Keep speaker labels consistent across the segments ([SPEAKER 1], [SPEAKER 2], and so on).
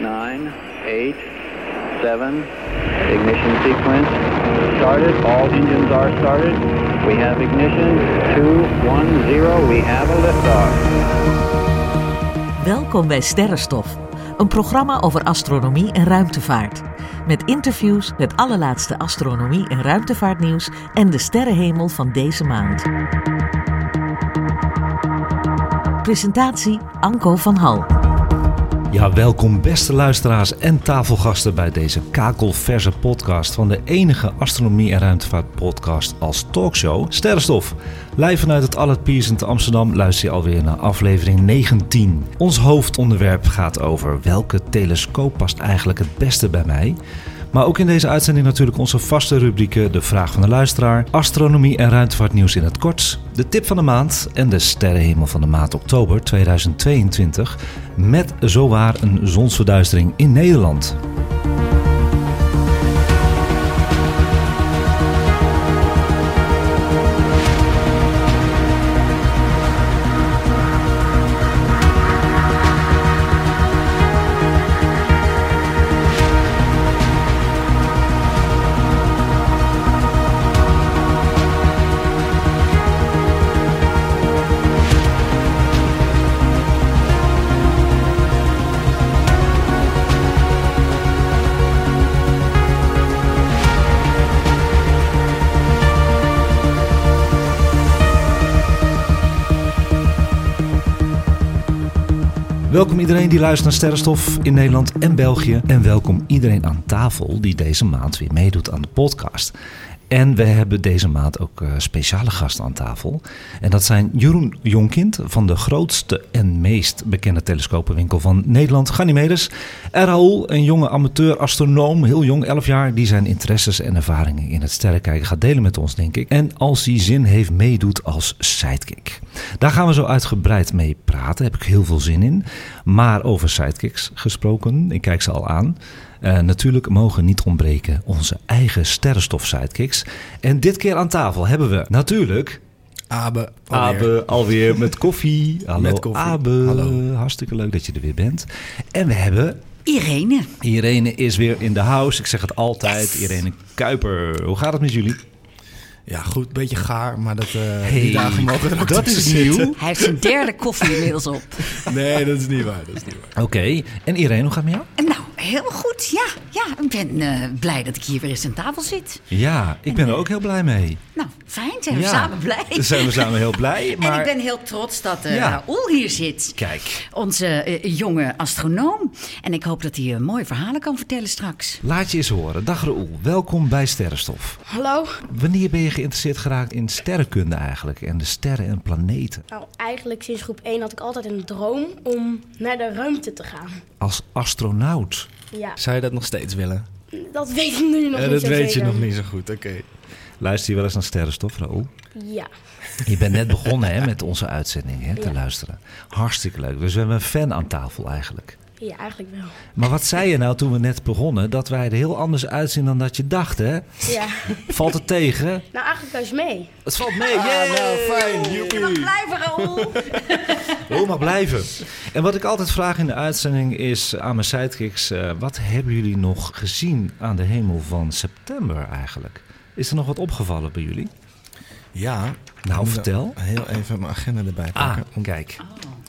[SPEAKER 1] nine, eight, seven. Ignition sequence started. All engines are started. We have ignition. Two, one, zero. We have a liftoff.
[SPEAKER 2] Welkom bij Sterrenstof, een programma over astronomie en ruimtevaart. Met interviews, het allerlaatste astronomie- en ruimtevaartnieuws en de sterrenhemel van deze maand. Presentatie Anko van Hal.
[SPEAKER 3] Ja, welkom beste luisteraars en tafelgasten bij deze kakelverse podcast van de enige astronomie- en ruimtevaartpodcast als talkshow Sterrenstof. Live vanuit het Allard Piers in te Amsterdam luister je alweer naar aflevering 19. Ons hoofdonderwerp gaat over welke telescoop past eigenlijk het beste bij mij. Maar ook in deze uitzending natuurlijk onze vaste rubrieken De Vraag van de Luisteraar, Astronomie en Ruimtevaartnieuws in het kort, De Tip van de Maand en de Sterrenhemel van de Maand Oktober 2022 met zowaar een zonsverduistering in Nederland. Welkom iedereen die luistert naar Sterrenstof in Nederland en België. En welkom iedereen aan tafel die deze maand weer meedoet aan de podcast. En we hebben deze maand ook eh, speciale gasten aan tafel. En dat zijn Jeroen Jonkind van de grootste en meest bekende telescopenwinkel van Nederland, Ganymedes. En Raoul, een jonge amateur-astronoom, heel jong, 11 jaar, die zijn interesses en ervaringen in het sterrenkijken gaat delen met ons, denk ik. En als hij zin heeft, meedoet als sidekick. Daar gaan we zo uitgebreid mee praten, heb ik heel veel zin in. Maar over sidekicks gesproken, ik kijk ze al aan. Eh, natuurlijk mogen niet ontbreken onze eigen sterrenstof sidekicks. En dit keer aan tafel hebben we natuurlijk
[SPEAKER 4] Abe.
[SPEAKER 5] oh,
[SPEAKER 4] alweer.
[SPEAKER 3] Abe alweer met koffie. Hallo
[SPEAKER 4] Met koffie.
[SPEAKER 3] Abe,
[SPEAKER 4] Hallo.
[SPEAKER 3] hartstikke leuk dat je er weer bent. En we hebben,
[SPEAKER 6] Irene.
[SPEAKER 3] Irene is weer in de house. Ik zeg het altijd, Irene Kuiper. Hoe gaat het met jullie?
[SPEAKER 4] Ja, goed. Beetje gaar, maar dat, eh
[SPEAKER 3] Hey,
[SPEAKER 4] die dagen mogen er ook
[SPEAKER 3] dat
[SPEAKER 4] tussen
[SPEAKER 3] is nieuw.
[SPEAKER 4] zitten.
[SPEAKER 6] Hij heeft zijn derde koffie inmiddels op.
[SPEAKER 4] Nee, dat is niet waar. Dat is niet waar.
[SPEAKER 3] Oké, en Irene, hoe gaat het met jou?
[SPEAKER 6] En nou, heel goed. Ja, ja ik ben eh, blij dat ik hier weer eens aan tafel zit.
[SPEAKER 3] Ja, ik ben er ook heel blij mee.
[SPEAKER 6] Nou, fijn. Zijn we
[SPEAKER 3] Ja.
[SPEAKER 6] samen blij?
[SPEAKER 3] Dan zijn we samen heel blij. Maar...
[SPEAKER 6] En ik ben heel trots dat eh
[SPEAKER 3] Ja.
[SPEAKER 6] Raoul hier zit.
[SPEAKER 3] Kijk,
[SPEAKER 6] Onze eh, jonge astronoom. En ik hoop dat hij eh, mooie verhalen kan vertellen straks.
[SPEAKER 3] laat je eens horen. Dag Roel, welkom bij Sterrenstof.
[SPEAKER 7] Hallo.
[SPEAKER 3] Wanneer ben je geïnteresseerd geraakt in sterrenkunde eigenlijk? En de sterren en planeten?
[SPEAKER 7] Nou, eigenlijk sinds groep 1 had ik altijd een droom om naar de ruimte te gaan.
[SPEAKER 3] Als astronaut.
[SPEAKER 7] Ja,
[SPEAKER 4] Zou je dat nog steeds willen?
[SPEAKER 7] dat weet ik nu
[SPEAKER 4] Eh,
[SPEAKER 7] nog niet
[SPEAKER 4] dat
[SPEAKER 7] zo
[SPEAKER 4] weet je
[SPEAKER 7] zeker.
[SPEAKER 4] nog niet zo goed. Oké.
[SPEAKER 3] Luister je wel eens naar sterrenstof, Raoul?
[SPEAKER 7] Ja.
[SPEAKER 3] Je bent net begonnen hè, met onze uitzending hè, te luisteren. Hartstikke leuk. Dus we hebben een fan aan tafel eigenlijk.
[SPEAKER 7] ja, eigenlijk wel.
[SPEAKER 3] Maar wat zei je nou toen we net begonnen? Dat wij er heel anders uitzien dan dat je dacht, hè?
[SPEAKER 7] Ja.
[SPEAKER 3] Valt het tegen?
[SPEAKER 7] nou, eigenlijk juist mee.
[SPEAKER 3] Het valt mee. Yeah.
[SPEAKER 4] nou, fijn. Joepie.
[SPEAKER 6] Blijven Raoul.
[SPEAKER 3] Roel mag blijven. En wat ik altijd vraag in de uitzending is aan mijn sidekicks... eh, wat hebben jullie nog gezien aan de hemel van september eigenlijk? Is er nog wat opgevallen bij jullie?
[SPEAKER 4] Ja. ik
[SPEAKER 3] Nou,
[SPEAKER 4] moet
[SPEAKER 3] vertel.
[SPEAKER 4] wel Heel even mijn agenda erbij
[SPEAKER 3] Ah,
[SPEAKER 4] pakken.
[SPEAKER 3] kijk.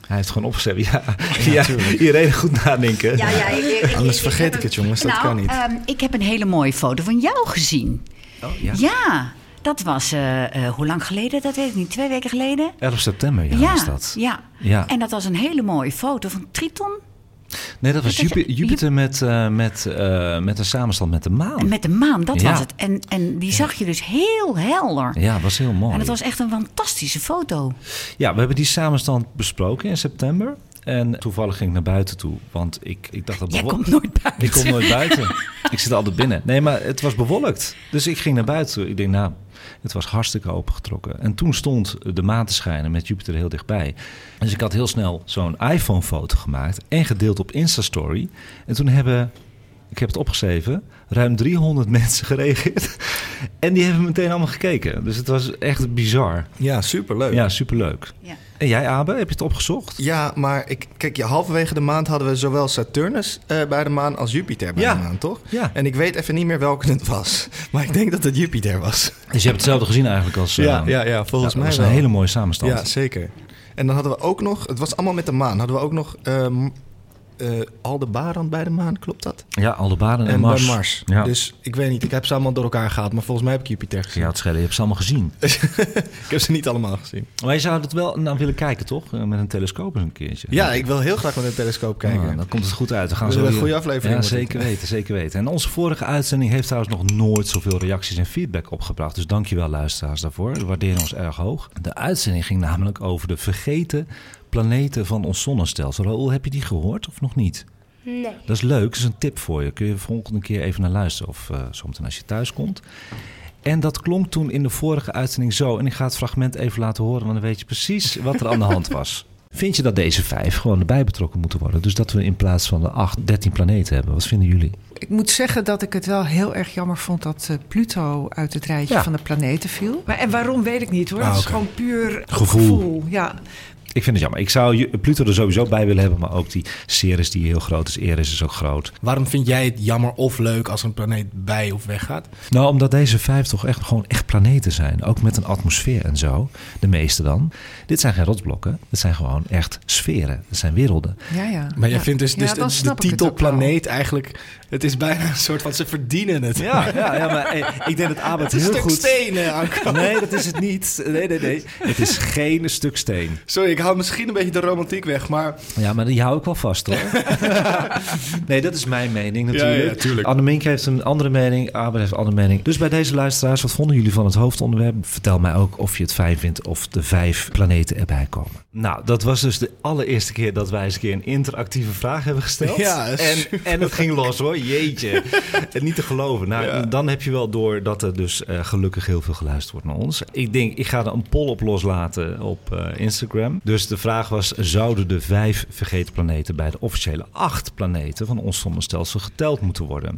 [SPEAKER 3] Hij heeft gewoon opgezet. Ja, ja, iedereen goed nadenken.
[SPEAKER 6] Ja, ja, ik- ik-
[SPEAKER 4] Anders
[SPEAKER 6] ik-
[SPEAKER 4] vergeet
[SPEAKER 6] heb
[SPEAKER 4] ik het,
[SPEAKER 6] een-
[SPEAKER 4] jongens, dat
[SPEAKER 6] Nou,
[SPEAKER 4] kan niet.
[SPEAKER 6] ehm, ik heb een hele mooie foto van jou gezien.
[SPEAKER 3] Oh, ja.
[SPEAKER 6] Ja, dat was, eh, eh, hoe lang geleden? Dat weet ik niet. Twee weken geleden?
[SPEAKER 3] 11 september, ja, was dat.
[SPEAKER 6] Ja.
[SPEAKER 3] Ja.
[SPEAKER 6] en dat was een hele mooie foto van Triton
[SPEAKER 3] Nee, dat was
[SPEAKER 6] Dat je-
[SPEAKER 3] Jupi- Jupiter met, eh, met, eh, met een samenstand met de maan.
[SPEAKER 6] met de maan, dat
[SPEAKER 3] Ja.
[SPEAKER 6] was het. En, en die zag je dus heel helder.
[SPEAKER 3] Ja, was heel mooi.
[SPEAKER 6] En het was echt een fantastische foto.
[SPEAKER 3] Ja, we hebben die samenstand besproken in september. En toevallig ging ik naar buiten toe, want ik, ik dacht dat...
[SPEAKER 6] Jij
[SPEAKER 3] bewo-
[SPEAKER 6] komt nooit buiten.
[SPEAKER 3] Ik kom nooit buiten. ik zit altijd binnen. Nee, maar het was bewolkt. Dus ik ging naar buiten. toe. Ik denk, nou, het was hartstikke opengetrokken. En toen stond de maan te schijnen met Jupiter heel dichtbij. Dus ik had heel snel zo'n iPhone-foto gemaakt en gedeeld op Insta-story. En toen hebben, ik heb het opgeschreven, ruim 300 mensen gereageerd. En die hebben meteen allemaal gekeken. Dus het was echt bizar.
[SPEAKER 4] Ja, superleuk.
[SPEAKER 3] Ja, superleuk.
[SPEAKER 6] Ja.
[SPEAKER 3] En jij, Abe, heb je het opgezocht?
[SPEAKER 5] Ja, maar ik, kijk, ja, halverwege de maand hadden we zowel Saturnus eh, bij de maan als Jupiter bij
[SPEAKER 3] Ja.
[SPEAKER 5] de maan, toch?
[SPEAKER 3] Ja.
[SPEAKER 5] En ik weet even niet meer welke het was. Maar ik denk dat het Jupiter was.
[SPEAKER 3] Dus je hebt hetzelfde gezien eigenlijk als... eh,
[SPEAKER 5] ja,
[SPEAKER 3] ja,
[SPEAKER 5] volgens
[SPEAKER 3] dat was een hele mooie samenstand.
[SPEAKER 5] Ja, zeker. En dan hadden we ook nog, het was allemaal met de maan, hadden we ook nog ehm eh Aldebaran bij de maan, klopt dat?
[SPEAKER 3] Ja, Aldebaran en,
[SPEAKER 5] en
[SPEAKER 3] Eh, Mars.
[SPEAKER 5] bij Mars.
[SPEAKER 3] Ja.
[SPEAKER 5] Dus ik weet niet, ik heb ze allemaal door elkaar gehaald, maar volgens mij heb ik Jupiter gezien.
[SPEAKER 3] Ja, het schelen, je hebt ze allemaal gezien.
[SPEAKER 5] Ik heb ze niet allemaal gezien.
[SPEAKER 3] Maar je zou het wel naar willen kijken, toch? Eh, Met een telescoop eens een keertje.
[SPEAKER 5] Ja, ik wil heel graag met een telescoop kijken.
[SPEAKER 3] Nou, dan komt het goed uit. We gaan
[SPEAKER 5] We
[SPEAKER 3] zo
[SPEAKER 5] hebben een
[SPEAKER 3] weer-
[SPEAKER 5] goede aflevering,
[SPEAKER 3] Ja,
[SPEAKER 5] wordt
[SPEAKER 3] zeker
[SPEAKER 5] het.
[SPEAKER 3] weten, zeker weten. En onze vorige uitzending heeft trouwens nog nooit zoveel reacties en feedback opgebracht. Dus dankjewel luisteraars daarvoor. We waarderen ons erg hoog. De uitzending ging namelijk over de vergeten planeten van ons zonnestelsel. Raoul, heb je die gehoord of nog niet?
[SPEAKER 7] Nee.
[SPEAKER 3] Dat is leuk, dat is een tip voor je. Kun je de volgende keer even naar luisteren of eh zometeen als je thuis komt. En dat klonk toen in de vorige uitzending zo. En ik ga het fragment even laten horen, want dan weet je precies wat er aan de hand was. Vind je dat deze vijf gewoon erbij betrokken moeten worden? Dus dat we in plaats van de acht, dertien planeten hebben. Wat vinden jullie?
[SPEAKER 8] Ik moet zeggen dat ik het wel heel erg jammer vond dat eh, Pluto uit het rijtje
[SPEAKER 3] Ja.
[SPEAKER 8] van de planeten viel. Maar, en waarom weet ik niet hoor.
[SPEAKER 4] Ah,
[SPEAKER 8] Het is
[SPEAKER 4] oké.
[SPEAKER 8] gewoon puur
[SPEAKER 3] Gevoel.
[SPEAKER 8] gevoel. Ja.
[SPEAKER 3] Ik vind het jammer. Ik zou Ju- Pluto er sowieso bij willen hebben. Maar ook die Ceres die heel groot is. Eris is ook groot.
[SPEAKER 4] Waarom vind jij het jammer of leuk als een planeet bij of weggaat?
[SPEAKER 3] Nou, omdat deze vijf toch echt gewoon echt planeten zijn. Ook met een atmosfeer en zo. De meeste dan. Dit zijn geen rotsblokken. Dit zijn gewoon echt sferen. Dit zijn werelden.
[SPEAKER 8] Ja, ja.
[SPEAKER 4] Maar jij
[SPEAKER 8] Ja.
[SPEAKER 4] vindt dus,
[SPEAKER 8] Ja,
[SPEAKER 4] dus
[SPEAKER 8] dan
[SPEAKER 4] de, de
[SPEAKER 8] snap ik het
[SPEAKER 4] titel
[SPEAKER 8] ook wel.
[SPEAKER 4] planeet eigenlijk... Het is bijna een soort van ze verdienen het.
[SPEAKER 3] Ja, ja, ja maar eh, ik denk dat Abel het
[SPEAKER 4] Het is een
[SPEAKER 3] heel
[SPEAKER 4] stuk
[SPEAKER 3] goed...
[SPEAKER 4] stenen, Anko.
[SPEAKER 3] Nee, dat is het niet. Nee, nee, nee. Het is geen stuk steen.
[SPEAKER 5] Sorry, ik hou misschien een beetje de romantiek weg, maar
[SPEAKER 3] Ja, maar die hou ik wel vast hoor. nee, dat is mijn mening natuurlijk.
[SPEAKER 5] Ja, ja, tuurlijk.
[SPEAKER 3] Anne Mink heeft een andere mening, Abel heeft een andere mening. Dus bij deze luisteraars, wat vonden jullie van het hoofdonderwerp? Vertel mij ook of je het fijn vindt of de vijf planeten erbij komen. Nou, dat was dus de allereerste keer dat wij eens een keer een interactieve vraag hebben gesteld.
[SPEAKER 5] Ja,
[SPEAKER 3] en, en het ging los hoor, jeetje. Het niet te geloven. Nou,
[SPEAKER 5] Ja.
[SPEAKER 3] dan heb je wel door dat er dus eh, gelukkig heel veel geluisterd wordt naar ons. Ik denk, ik ga er een poll op loslaten op eh, Instagram. Dus de vraag was, zouden de vijf vergeten planeten bij de officiële acht planeten van ons zonnestelsel geteld moeten worden?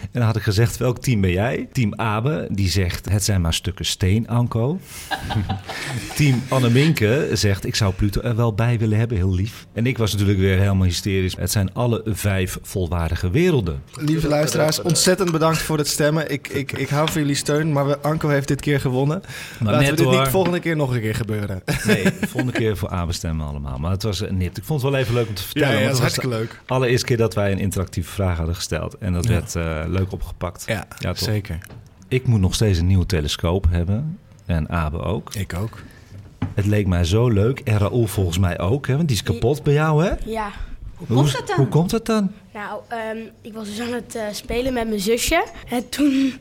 [SPEAKER 3] En dan had ik gezegd, welk team ben jij? Team Abe, die zegt, het zijn maar stukken steen, Anko. Team Anneminke zegt, ik zou Pluto er wel bij willen hebben, heel lief. En ik was natuurlijk weer helemaal hysterisch. Het zijn alle vijf volwaardige werelden.
[SPEAKER 5] lieve luisteraars, ontzettend bedankt voor het stemmen. Ik, ik, ik hou van jullie steun, maar we- Anko heeft dit keer gewonnen. Laten
[SPEAKER 3] net
[SPEAKER 5] we dit
[SPEAKER 3] hoor.
[SPEAKER 5] niet volgende keer nog een keer gebeuren.
[SPEAKER 3] Nee, de volgende keer voor Abe stemmen allemaal. Maar het was eh, nipt. Ik vond het wel even leuk om te vertellen. want het was de
[SPEAKER 5] leuk.
[SPEAKER 3] allereerste keer dat wij een interactieve vraag hadden gesteld. En dat werd eh, leuk opgepakt.
[SPEAKER 4] Ja,
[SPEAKER 3] Ja, toch?
[SPEAKER 4] zeker.
[SPEAKER 3] Ik moet nog steeds een nieuwe telescoop hebben. En Abe ook.
[SPEAKER 4] Ik ook.
[SPEAKER 3] Het leek mij zo leuk. En Raoul volgens mij ook. Hè? Want die is kapot bij jou, hè?
[SPEAKER 7] Ja.
[SPEAKER 3] Hoe komt dat dan? Hoe komt dat dan?
[SPEAKER 7] Nou, ehm, ik was dus aan het eh, spelen met mijn zusje. En toen,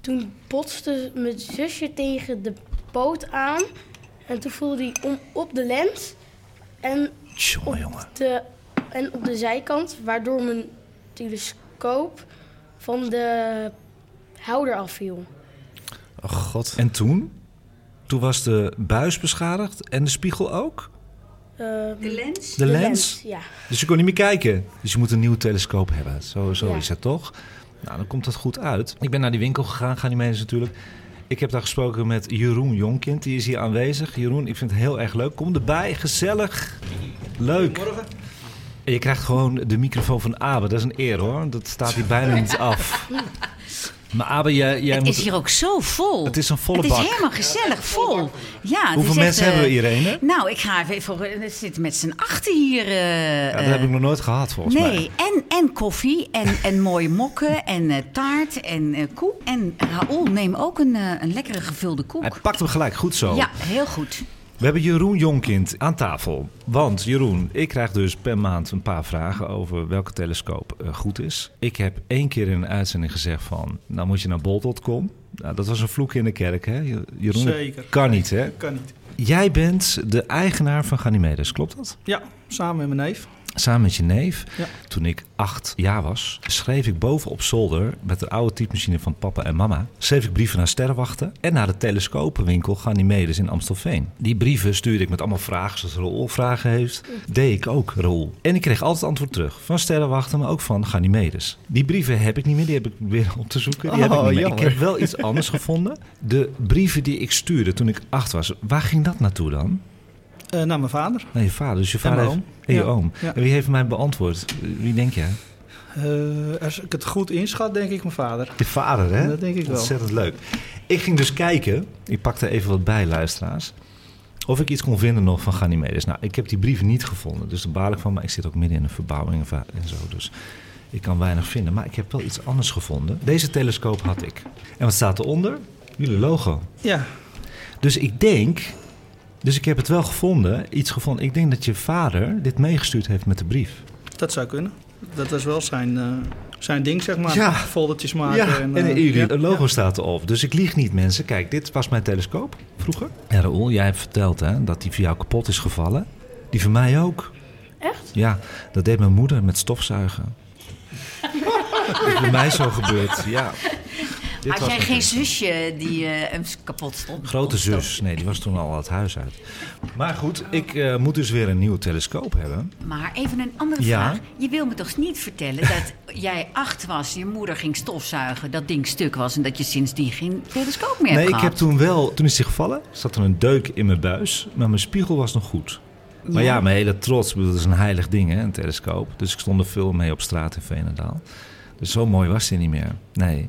[SPEAKER 7] toen botste mijn zusje tegen de poot aan. En toen voelde hij om op de lens. En
[SPEAKER 3] Jongen, Oh, jongen.
[SPEAKER 7] de, en op de zijkant, waardoor mijn telescoop van de houder afviel.
[SPEAKER 5] Oh god.
[SPEAKER 3] En toen? Toen was de buis beschadigd en de spiegel ook.
[SPEAKER 7] Ehm,
[SPEAKER 6] De lens?
[SPEAKER 3] De, lens.
[SPEAKER 7] Ja.
[SPEAKER 3] Dus je kon niet meer kijken. Dus je moet een nieuwe telescoop hebben. Zo, zo
[SPEAKER 7] Ja.
[SPEAKER 3] is het toch? Nou, dan komt dat goed uit. Ik ben naar die winkel gegaan, gaan die mensen natuurlijk. Ik heb daar gesproken met Jeroen Jonkind. Die is hier aanwezig. Jeroen, ik vind het heel erg leuk. Kom erbij, gezellig. Leuk. En je krijgt gewoon de microfoon van Abe. Dat is een eer hoor. Dat staat hier bijna niet af. Maar Abe, jij, jij
[SPEAKER 6] Het
[SPEAKER 3] moet...
[SPEAKER 6] is hier ook zo vol.
[SPEAKER 3] Het is een volle
[SPEAKER 6] Het is
[SPEAKER 3] bak.
[SPEAKER 6] helemaal gezellig vol. Ja, het
[SPEAKER 3] Hoeveel
[SPEAKER 6] is echt,
[SPEAKER 3] mensen
[SPEAKER 6] eh,
[SPEAKER 3] hebben we, Irene?
[SPEAKER 6] Nou, ik ga even voor. Het zit met z'n achten hier. eh,
[SPEAKER 3] Ja, dat heb
[SPEAKER 6] eh,
[SPEAKER 3] ik nog nooit gehad volgens mij.
[SPEAKER 6] nee, en, en koffie en, en mooie mokken en eh, taart en eh, koek. En Raoul, neem ook een, eh, een lekkere gevulde koek.
[SPEAKER 3] Hij pakt hem gelijk. Goed zo.
[SPEAKER 6] Ja, heel goed.
[SPEAKER 3] We hebben Jeroen Jonkind aan tafel. Want Jeroen, ik krijg dus per maand een paar vragen over welke telescoop eh, goed is. Ik heb één keer in een uitzending gezegd van, nou moet je naar bol.com. Nou, dat was een vloek in de kerk, hè? Je- Jeroen, dat
[SPEAKER 9] Zeker.
[SPEAKER 3] kan niet, hè?
[SPEAKER 9] Kan niet.
[SPEAKER 3] Jij bent de eigenaar van Ganymedes, klopt dat?
[SPEAKER 9] Ja, samen met mijn neef.
[SPEAKER 3] Samen met je neef,
[SPEAKER 4] Ja.
[SPEAKER 3] toen ik acht jaar was, schreef ik boven op zolder met de oude typemachine van papa en mama. Schreef ik brieven naar sterrenwachten en naar de telescopenwinkel Ganymedes in Amstelveen. Die brieven stuurde ik met allemaal vragen, zoals Roel vragen heeft. Deed ik ook, Roel. En ik kreeg altijd antwoord terug van sterrenwachten, maar ook van Ganymedes. Die brieven heb ik niet meer, die heb ik weer op te zoeken. Die heb ik
[SPEAKER 5] Oh,
[SPEAKER 3] niet meer. Ik
[SPEAKER 5] jammer.
[SPEAKER 3] heb wel iets anders gevonden. De brieven die ik stuurde toen ik acht was, waar ging dat naartoe dan?
[SPEAKER 9] Eh, naar mijn vader.
[SPEAKER 3] Naar je vader. Dus je
[SPEAKER 9] En
[SPEAKER 3] vader
[SPEAKER 9] mijn
[SPEAKER 3] heeft-
[SPEAKER 9] oom.
[SPEAKER 3] en je
[SPEAKER 9] Ja.
[SPEAKER 3] oom.
[SPEAKER 9] Ja.
[SPEAKER 3] En wie heeft mij beantwoord? Wie denk jij?
[SPEAKER 9] Eh, als ik het goed inschat, denk ik mijn vader.
[SPEAKER 3] Je vader, hè?
[SPEAKER 9] Dat denk ik wel.
[SPEAKER 3] Ontzettend leuk. Ik ging dus kijken. Ik pakte even wat bij, luisteraars. Of ik iets kon vinden nog van Ganymedes. Nou, ik heb die brieven niet gevonden. Dus daar baal ik van. Maar ik zit ook midden in een verbouwing en va- en zo. Dus ik kan weinig vinden. Maar ik heb wel iets anders gevonden. Deze telescoop had ik. En wat staat eronder? Jullie logo.
[SPEAKER 9] Ja,
[SPEAKER 3] Dus ik denk... Dus ik heb het wel gevonden. Iets gevonden. Ik denk dat je vader dit meegestuurd heeft met de brief.
[SPEAKER 9] dat zou kunnen. Dat was wel zijn, eh, zijn ding, zeg maar.
[SPEAKER 3] Ja.
[SPEAKER 9] Foldertjes maken.
[SPEAKER 3] Ja, en,
[SPEAKER 9] eh,
[SPEAKER 3] jullie,
[SPEAKER 9] ja.
[SPEAKER 3] het logo staat erop. Dus ik lieg niet, mensen. Kijk, dit was mijn telescoop vroeger. Ja, Raoul, jij hebt verteld hè, dat die van jou kapot is gevallen. Die van mij ook.
[SPEAKER 7] Echt?
[SPEAKER 3] Ja, dat deed mijn moeder met stofzuigen. dat is bij mij zo gebeurd, ja. Dit
[SPEAKER 6] Had
[SPEAKER 3] was
[SPEAKER 6] jij
[SPEAKER 3] mijn
[SPEAKER 6] geen
[SPEAKER 3] tele-
[SPEAKER 6] zusje die eh, hem kapot stond?
[SPEAKER 3] Grote zus, nee, die was toen al het huis uit. Maar goed, ik eh, moet dus weer een nieuwe telescoop hebben.
[SPEAKER 6] Maar even een andere
[SPEAKER 3] Ja?
[SPEAKER 6] vraag. Je wil me toch niet vertellen dat jij acht was, je moeder ging stofzuigen, dat ding stuk was en dat je sindsdien geen telescoop meer
[SPEAKER 3] Nee,
[SPEAKER 6] hebt
[SPEAKER 3] ik heb
[SPEAKER 6] gehad?
[SPEAKER 3] toen wel, toen is die gevallen, zat er een deuk in mijn buis, maar mijn spiegel was nog goed. Maar ja, mijn hele trots, ik bedoel, dat is een heilig ding, hè, een telescoop. Dus ik stond er veel mee op straat in Veenendaal. Dus zo mooi was die niet meer. Nee.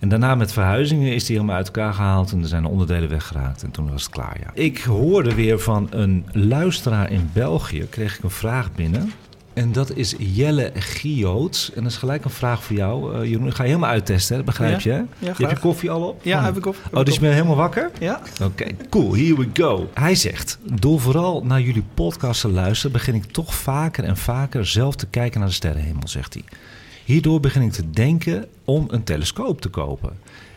[SPEAKER 3] En daarna met verhuizingen is die helemaal uit elkaar gehaald en er zijn de onderdelen weggeraakt. En toen was het klaar, ja. Ik hoorde weer van een luisteraar in België, kreeg ik een vraag binnen. En dat is Jelle Gioots. En dat is gelijk een vraag voor jou. Eh, Jeroen, ik ga je helemaal uittesten, hè? dat begrijp je?
[SPEAKER 9] Ja,
[SPEAKER 3] hè?
[SPEAKER 9] ja,
[SPEAKER 3] je hebt je
[SPEAKER 9] graag.
[SPEAKER 3] koffie al op?
[SPEAKER 9] Ja,
[SPEAKER 3] Oh.
[SPEAKER 9] heb ik op. heb
[SPEAKER 3] Oh,
[SPEAKER 9] ik
[SPEAKER 3] dus je
[SPEAKER 9] op.
[SPEAKER 3] bent helemaal wakker?
[SPEAKER 9] Ja,
[SPEAKER 3] Oké, cool. Here we go. Hij zegt, door vooral naar jullie podcast te luisteren... begin ik toch vaker en vaker zelf te kijken naar de sterrenhemel, zegt hij. Hierdoor begin ik te denken om een telescoop te kopen.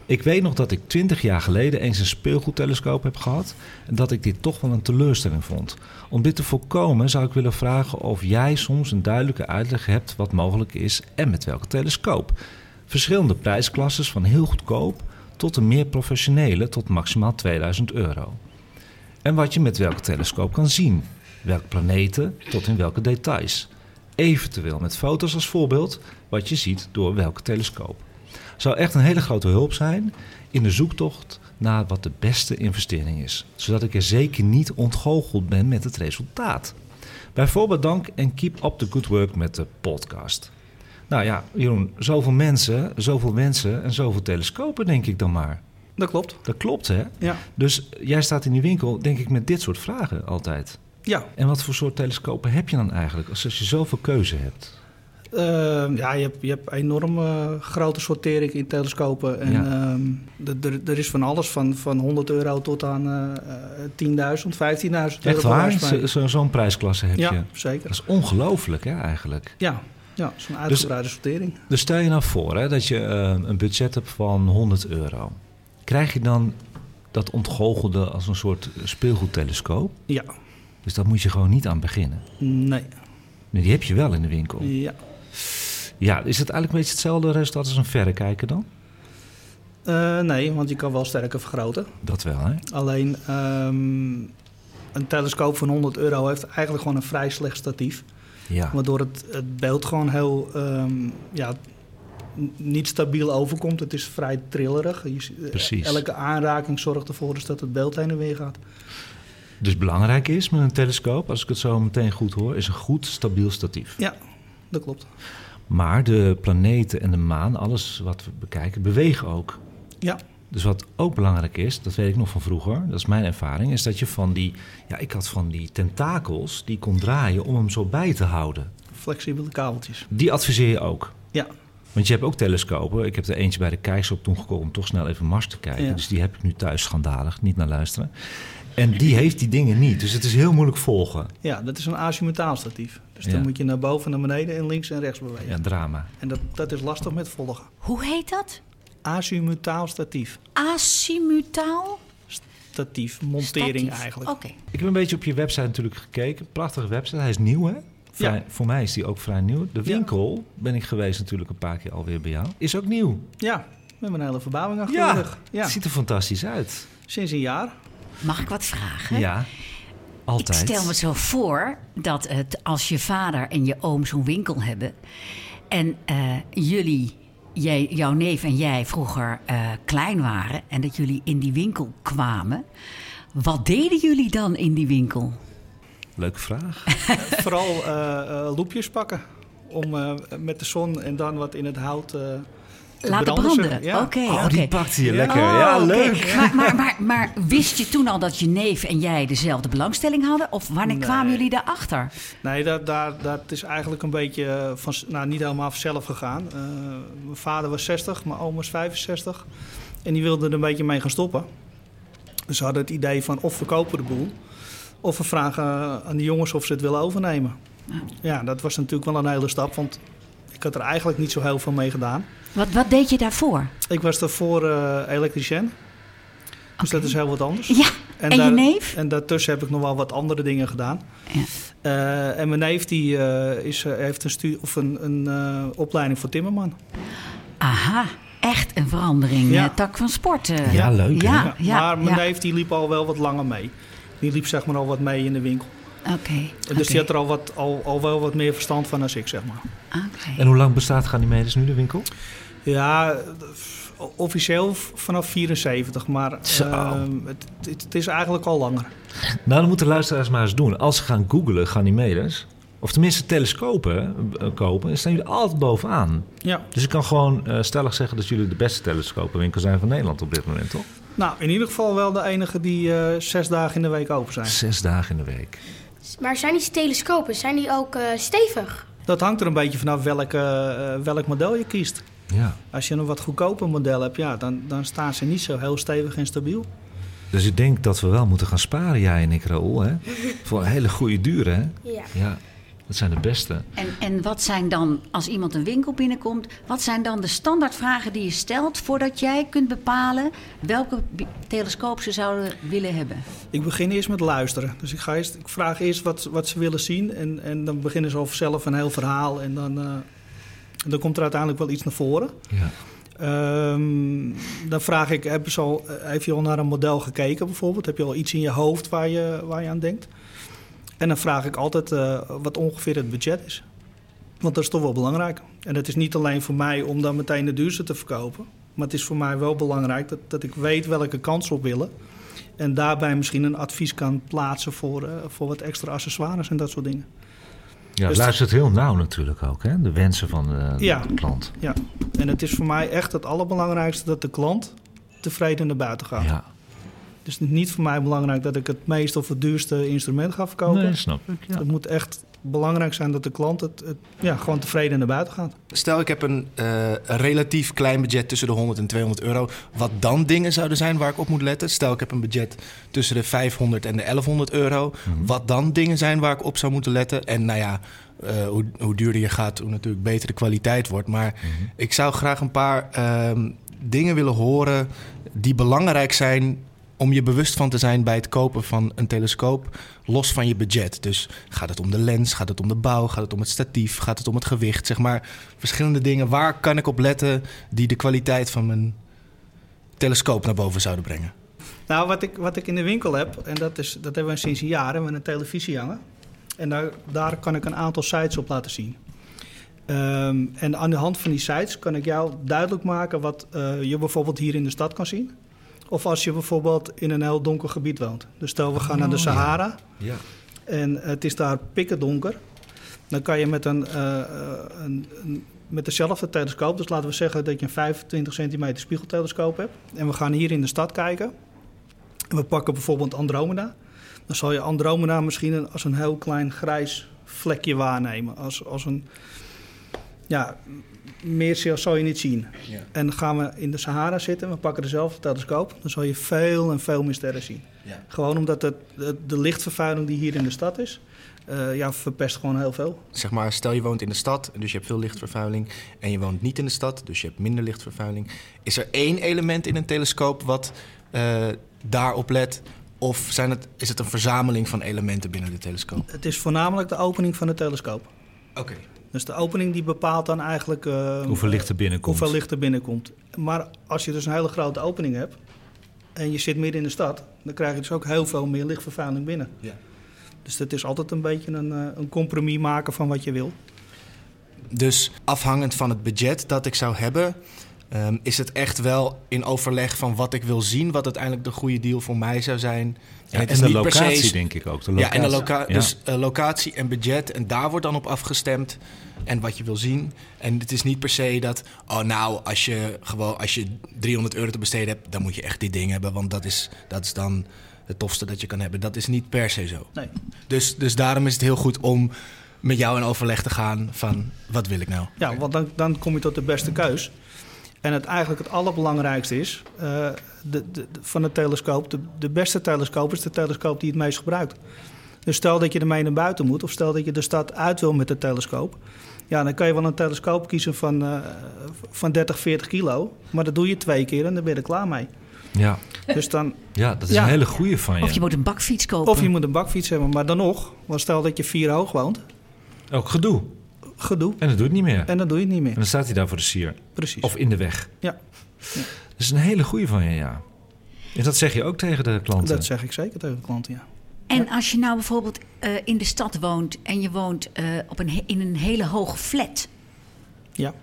[SPEAKER 3] Ik weet nog dat ik twintig jaar geleden eens een speelgoedtelescoop heb gehad... en dat ik dit toch wel een teleurstelling vond. Om dit te voorkomen zou ik willen vragen of jij soms een duidelijke uitleg hebt... wat mogelijk is en met welke telescoop. Verschillende prijsklasses van heel goedkoop tot de meer professionele tot maximaal 2000 euro. En wat je met welke telescoop kan zien, welke planeten tot in welke details. Eventueel met foto's als voorbeeld wat je ziet door welke telescoop. Zou echt een hele grote hulp zijn in de zoektocht naar wat de beste investering is, zodat ik er zeker niet ontgoocheld ben met het resultaat. Bijvoorbeeld dank en keep up the good work met de podcast. Nou ja, Jeroen, zoveel mensen, zoveel wensen en zoveel telescopen, denk ik dan maar.
[SPEAKER 9] dat klopt.
[SPEAKER 3] Dat klopt, hè?
[SPEAKER 9] Ja.
[SPEAKER 3] Dus jij staat in die winkel, denk ik, met dit soort vragen altijd.
[SPEAKER 9] Ja,
[SPEAKER 3] En wat voor soort telescopen heb je dan eigenlijk, als als je zoveel keuze hebt?
[SPEAKER 9] Ehm, ja, je hebt, je hebt enorm eh, grote sortering in telescopen. En
[SPEAKER 3] Ja.
[SPEAKER 9] ehm, d- d- er is van alles, van, van 100 euro tot aan eh, eh, 10.000, 15.000 euro.
[SPEAKER 3] Echt
[SPEAKER 9] bij
[SPEAKER 3] waar?
[SPEAKER 9] wijze van.
[SPEAKER 3] Zo- zo- Zo'n prijsklasse heb
[SPEAKER 9] ja,
[SPEAKER 3] je. Dat
[SPEAKER 9] zeker.
[SPEAKER 3] is ongelooflijk, hè, eigenlijk.
[SPEAKER 9] Ja, ja zo'n uitgebreide sortering.
[SPEAKER 3] Dus stel je nou voor hè, dat je eh, een budget hebt van 100 euro. Krijg je dan dat ontgoochelde als een soort speelgoedtelescoop?
[SPEAKER 9] Ja,
[SPEAKER 3] Dus daar moet je gewoon niet aan beginnen.
[SPEAKER 9] nee.
[SPEAKER 3] Nee, die heb je wel in de winkel.
[SPEAKER 9] Ja.
[SPEAKER 3] Ja, is het eigenlijk een beetje hetzelfde resultaat als een verrekijker dan?
[SPEAKER 9] Eh, nee, want je kan wel sterker vergroten.
[SPEAKER 3] Dat wel, hè?
[SPEAKER 9] Alleen ehm, een telescoop van 100 euro heeft eigenlijk gewoon een vrij slecht statief.
[SPEAKER 3] Ja.
[SPEAKER 9] Waardoor het, het beeld gewoon heel ehm, ja, n- niet stabiel overkomt. Het is vrij trillerig. Je, ziet-
[SPEAKER 3] Precies.
[SPEAKER 9] Elke aanraking zorgt ervoor dus dat het beeld heen en weer gaat.
[SPEAKER 3] Dus belangrijk is met een telescoop, als ik het zo meteen goed hoor, is een goed stabiel statief.
[SPEAKER 9] Ja, dat klopt.
[SPEAKER 3] Maar de planeten en de maan, alles wat we bekijken, bewegen ook.
[SPEAKER 9] Ja,
[SPEAKER 3] Dus wat ook belangrijk is, dat weet ik nog van vroeger, dat is mijn ervaring, is dat je van die, ja, ik had van die tentakels die kon draaien om hem zo bij te houden.
[SPEAKER 9] flexibele kabeltjes.
[SPEAKER 3] Die adviseer je ook.
[SPEAKER 9] Ja,
[SPEAKER 3] Want je hebt ook telescopen. Ik heb er eentje bij de Kijksop toen gekocht om toch snel even Mars te kijken.
[SPEAKER 9] Ja.
[SPEAKER 3] Dus die heb ik nu thuis schandalig, niet naar luisteren. En die heeft die dingen niet, dus het is heel moeilijk volgen.
[SPEAKER 9] ja dat is een azimutaal statief. Dus dan
[SPEAKER 3] Ja.
[SPEAKER 9] moet je naar boven, naar beneden en links en rechts bewegen.
[SPEAKER 3] Ja, drama.
[SPEAKER 9] En dat, dat is lastig met volgen.
[SPEAKER 6] Hoe heet dat?
[SPEAKER 9] Azimutaal statief.
[SPEAKER 6] Asimutaal?
[SPEAKER 9] Statief, montering
[SPEAKER 6] Statief.
[SPEAKER 9] eigenlijk.
[SPEAKER 6] Oké.
[SPEAKER 3] Ik heb een beetje op je website natuurlijk gekeken. Prachtige website, hij is nieuw hè? Vrij,
[SPEAKER 9] Ja.
[SPEAKER 3] Voor mij is die ook vrij nieuw. De
[SPEAKER 9] Ja.
[SPEAKER 3] winkel ben ik geweest natuurlijk een paar keer alweer bij jou. Is ook nieuw.
[SPEAKER 9] Ja, we hebben een hele verbouwing achter de
[SPEAKER 3] Ja,
[SPEAKER 9] rug. Ja,
[SPEAKER 3] het ziet er fantastisch uit.
[SPEAKER 9] sinds een jaar.
[SPEAKER 6] Mag ik wat vragen?
[SPEAKER 3] Ja, altijd.
[SPEAKER 6] Ik stel me zo voor dat het als je vader en je oom zo'n winkel hebben en eh, jullie, jij, jouw neef en jij vroeger eh, klein waren en dat jullie in die winkel kwamen. Wat deden jullie dan in die winkel?
[SPEAKER 3] Leuke vraag.
[SPEAKER 9] Vooral eh, eh, loepjes pakken. Om eh, met de zon en dan wat in het hout eh, te
[SPEAKER 6] Laten
[SPEAKER 9] branden. zeg
[SPEAKER 6] branden.
[SPEAKER 9] maar. Ja.
[SPEAKER 6] Oké.
[SPEAKER 3] Oh,
[SPEAKER 6] oké.
[SPEAKER 3] die pakte je
[SPEAKER 9] Ja.
[SPEAKER 3] lekker.
[SPEAKER 6] Oh,
[SPEAKER 3] ja,
[SPEAKER 6] oké.
[SPEAKER 3] leuk.
[SPEAKER 6] Maar, maar, maar, maar wist je toen al dat je neef en jij dezelfde belangstelling hadden? Of wanneer
[SPEAKER 9] Nee.
[SPEAKER 6] kwamen jullie daarachter?
[SPEAKER 9] Nee, dat, daar, dat is eigenlijk een beetje eh, van, nou, niet helemaal vanzelf gegaan. Eh, mijn vader was 60, mijn oom was 65. En die wilde er een beetje mee gaan stoppen. Dus ze hadden het idee van of verkopen de boel... of we vragen aan de jongens of ze het willen overnemen. Ja, dat was natuurlijk wel een hele stap, want ik had er eigenlijk niet zo heel veel mee gedaan.
[SPEAKER 6] Wat, wat deed je daarvoor?
[SPEAKER 9] Ik was daarvoor eh, elektricien, dus dat is heel wat anders.
[SPEAKER 6] Ja, En je neef?
[SPEAKER 9] En daartussen heb ik nog wel wat andere dingen gedaan.
[SPEAKER 6] Ja.
[SPEAKER 9] Eh, en mijn neef die, eh, is, eh, heeft een, stu- of een, een eh, opleiding voor timmerman.
[SPEAKER 6] aha, echt een verandering.
[SPEAKER 9] Ja.
[SPEAKER 6] eh, tak van sport. eh.
[SPEAKER 3] Ja, leuk, hè?
[SPEAKER 6] Ja, ja,
[SPEAKER 9] maar mijn
[SPEAKER 6] ja.
[SPEAKER 9] neef die liep al wel wat langer mee. Die liep zeg maar al wat mee in de winkel.
[SPEAKER 6] Oké.
[SPEAKER 9] Dus
[SPEAKER 6] oké,
[SPEAKER 9] die had er al, wat, al, al wel wat meer verstand van als ik zeg maar.
[SPEAKER 6] oké.
[SPEAKER 3] En hoe lang bestaat Ganymedes nu de winkel?
[SPEAKER 9] Ja, f- officieel v- vanaf 74, maar
[SPEAKER 3] Zo.
[SPEAKER 9] ehm, het, het, het is eigenlijk al langer.
[SPEAKER 3] Nou, dan moeten luisteraars maar eens doen. Als ze gaan googelen Ganymedes, of tenminste telescopen eh, kopen, dan staan jullie altijd bovenaan.
[SPEAKER 9] Ja.
[SPEAKER 3] Dus ik kan gewoon eh, stellig zeggen dat jullie de beste telescopenwinkel zijn van Nederland op dit moment, toch?
[SPEAKER 9] Nou, in ieder geval wel de enige die eh, zes dagen in de week open zijn.
[SPEAKER 3] Zes dagen in de week.
[SPEAKER 7] Maar zijn die telescopen, zijn die ook eh, stevig?
[SPEAKER 9] Dat hangt er een beetje vanaf welk, eh, eh, welk model je kiest.
[SPEAKER 3] Ja.
[SPEAKER 9] Als je een wat goedkoper model hebt, ja, dan, dan staan ze niet zo heel stevig en stabiel.
[SPEAKER 3] Dus ik denk dat we wel moeten gaan sparen, jij en ik, Raoul. Hè? Voor een hele goede duur, hè?
[SPEAKER 7] Ja.
[SPEAKER 3] Ja, dat zijn de beste.
[SPEAKER 6] En, en wat zijn dan, als iemand een winkel binnenkomt, wat zijn dan de standaardvragen die je stelt voordat jij kunt bepalen welke bi- telescoop ze zouden willen hebben?
[SPEAKER 9] Ik begin eerst met luisteren. Dus ik, ga eerst, ik vraag eerst wat, wat ze willen zien. En, en dan beginnen ze al zelf een heel verhaal. En dan, eh, dan komt er uiteindelijk wel iets naar voren.
[SPEAKER 3] Ja.
[SPEAKER 9] Ehm, dan vraag ik, heb je, al, heb je al naar een model gekeken bijvoorbeeld? Heb je al iets in je hoofd waar je, waar je aan denkt? En dan vraag ik altijd eh, wat ongeveer het budget is. Want dat is toch wel belangrijk. En het is niet alleen voor mij om dan meteen de duurste te verkopen. Maar het is voor mij wel belangrijk dat, dat ik weet welke kans ze op willen. En daarbij misschien een advies kan plaatsen voor, eh, voor wat extra accessoires en dat soort dingen.
[SPEAKER 3] Ja,
[SPEAKER 9] Dus-
[SPEAKER 3] luistert heel nauw natuurlijk ook, hè? De wensen van eh,
[SPEAKER 9] Ja.
[SPEAKER 3] de klant.
[SPEAKER 9] Ja. En het is voor mij echt het allerbelangrijkste dat de klant tevreden naar buiten gaat.
[SPEAKER 3] Ja.
[SPEAKER 9] Dus het is niet voor mij belangrijk dat ik het meest of het duurste instrument ga verkopen.
[SPEAKER 3] Nee, snap ik. Ja.
[SPEAKER 9] Het moet echt belangrijk zijn dat de klant het, het- ja, gewoon tevreden naar buiten gaat.
[SPEAKER 5] Stel, ik heb een eh, een relatief klein budget tussen de 100 en 200 euro. Wat dan dingen zouden zijn waar ik op moet letten? Stel, ik heb een budget tussen de 500 en de 1100 euro.
[SPEAKER 3] Mhm.
[SPEAKER 5] Wat dan dingen zijn waar ik op zou moeten letten? En nou ja, eh, hoe, hoe duurder je gaat, hoe natuurlijk beter de kwaliteit wordt. Maar
[SPEAKER 3] Mhm.
[SPEAKER 5] ik zou graag een paar ehm, dingen willen horen die belangrijk zijn om je bewust van te zijn bij het kopen van een telescoop, los van je budget. Dus gaat het om de lens, gaat het om de bouw, gaat het om het statief, gaat het om het gewicht, zeg maar verschillende dingen. Waar kan ik op letten die de kwaliteit van mijn telescoop naar boven zouden brengen?
[SPEAKER 9] Nou, wat ik, wat ik in de winkel heb, en dat, is, dat hebben we sinds een jaar, hebben we een televisie hangen. En daar, daar kan ik een aantal sites op laten zien. Ehm, en aan de hand van die sites kan ik jou duidelijk maken wat eh, je bijvoorbeeld hier in de stad kan zien. Of als je bijvoorbeeld in een heel donker gebied woont. Dus stel, we gaan naar de Sahara.
[SPEAKER 3] Oh, Ja.
[SPEAKER 9] en het is daar pikken donker. Dan kan je met, een, eh, eh, een, een- met dezelfde telescoop, dus laten we zeggen dat je een 25 centimeter spiegeltelescoop hebt. En we gaan hier in de stad kijken. En we pakken bijvoorbeeld Andromeda. Dan zal je Andromeda misschien een- als een heel klein grijs vlekje waarnemen. Als, als een. Ja, meer zal- zal je niet zien. En dan gaan we in de Sahara zitten, we pakken dezelfde telescoop. Dan zal je veel en veel meer sterren zien. Gewoon omdat het, de, de lichtvervuiling die hier in de stad is, eh, ja, verpest gewoon heel veel.
[SPEAKER 5] Zeg maar, stel je woont in de stad, dus je hebt veel lichtvervuiling. En je woont niet in de stad, dus je hebt minder lichtvervuiling. Is er één element in een telescoop wat eh, daarop let? Of zijn het, is het een verzameling van elementen binnen de telescoop?
[SPEAKER 9] Het is voornamelijk de opening van de telescoop.
[SPEAKER 5] Oké.
[SPEAKER 9] Dus de opening die bepaalt dan eigenlijk... eh,
[SPEAKER 3] Hoeveel licht er binnenkomt.
[SPEAKER 9] Hoeveel licht er binnenkomt. Maar als je dus een hele grote opening hebt en je zit midden in de stad, dan krijg je dus ook heel veel meer lichtvervuiling binnen.
[SPEAKER 5] Ja.
[SPEAKER 9] Dus dat is altijd een beetje een, eh, een compromis maken van wat je wil.
[SPEAKER 5] Dus afhangend van het budget dat ik zou hebben, ehm, is het echt wel in overleg van wat ik wil zien, wat uiteindelijk de goede deal voor mij zou zijn.
[SPEAKER 3] Ja,
[SPEAKER 5] het
[SPEAKER 3] en
[SPEAKER 5] is
[SPEAKER 3] de
[SPEAKER 5] niet per se-
[SPEAKER 3] locatie, denk ik ook. De
[SPEAKER 5] Ja, en de
[SPEAKER 3] locatie.
[SPEAKER 5] loca-
[SPEAKER 3] Ja.
[SPEAKER 5] dus eh, locatie en budget. En daar wordt dan op afgestemd. En wat je wil zien. En het is niet per se dat. Oh, nou, als je, gewoon, als je 300 euro te besteden hebt. dan moet je echt dit ding hebben. Want dat is, dat is dan het tofste dat je kan hebben. Dat is niet per se zo.
[SPEAKER 9] Nee.
[SPEAKER 5] Dus, dus daarom is het heel goed om met jou in overleg te gaan. van wat wil ik nou?
[SPEAKER 9] Ja, want dan, dan kom je tot de beste keus. En het eigenlijk het allerbelangrijkste is eh, de, de, de- van het telescoop. De, de beste telescoop is de telescoop die het meest gebruikt. Dus stel dat je ermee naar buiten moet, of stel dat je de stad uit wil met de telescoop. Ja, dan kan je wel een telescoop kiezen van, eh, van 30, 40 kilo. Maar dat doe je twee keer en dan ben je er klaar mee.
[SPEAKER 3] Ja.
[SPEAKER 9] Dus dan,
[SPEAKER 3] ja, dat is
[SPEAKER 9] Ja.
[SPEAKER 3] een hele goeie van je.
[SPEAKER 6] Of je moet een bakfiets kopen.
[SPEAKER 9] of je moet een bakfiets hebben, maar dan nog, want stel dat je vier hoog woont,
[SPEAKER 3] Ook gedoe.
[SPEAKER 9] gedoe.
[SPEAKER 3] En dat doet het niet meer. En
[SPEAKER 5] Eh.
[SPEAKER 9] En dan doe je het niet meer.
[SPEAKER 3] dan staat hij daar voor de sier.
[SPEAKER 9] Precies.
[SPEAKER 3] Of in de weg.
[SPEAKER 9] Ja.
[SPEAKER 3] Dat is een hele goeie van je, ja. En dat zeg je ook tegen de klanten.
[SPEAKER 9] Dat zeg ik zeker tegen de klanten, ja.
[SPEAKER 6] En als je nou bijvoorbeeld eh, in de stad woont en je woont eh, op een, he- in een hele hoge flat,
[SPEAKER 9] Ja.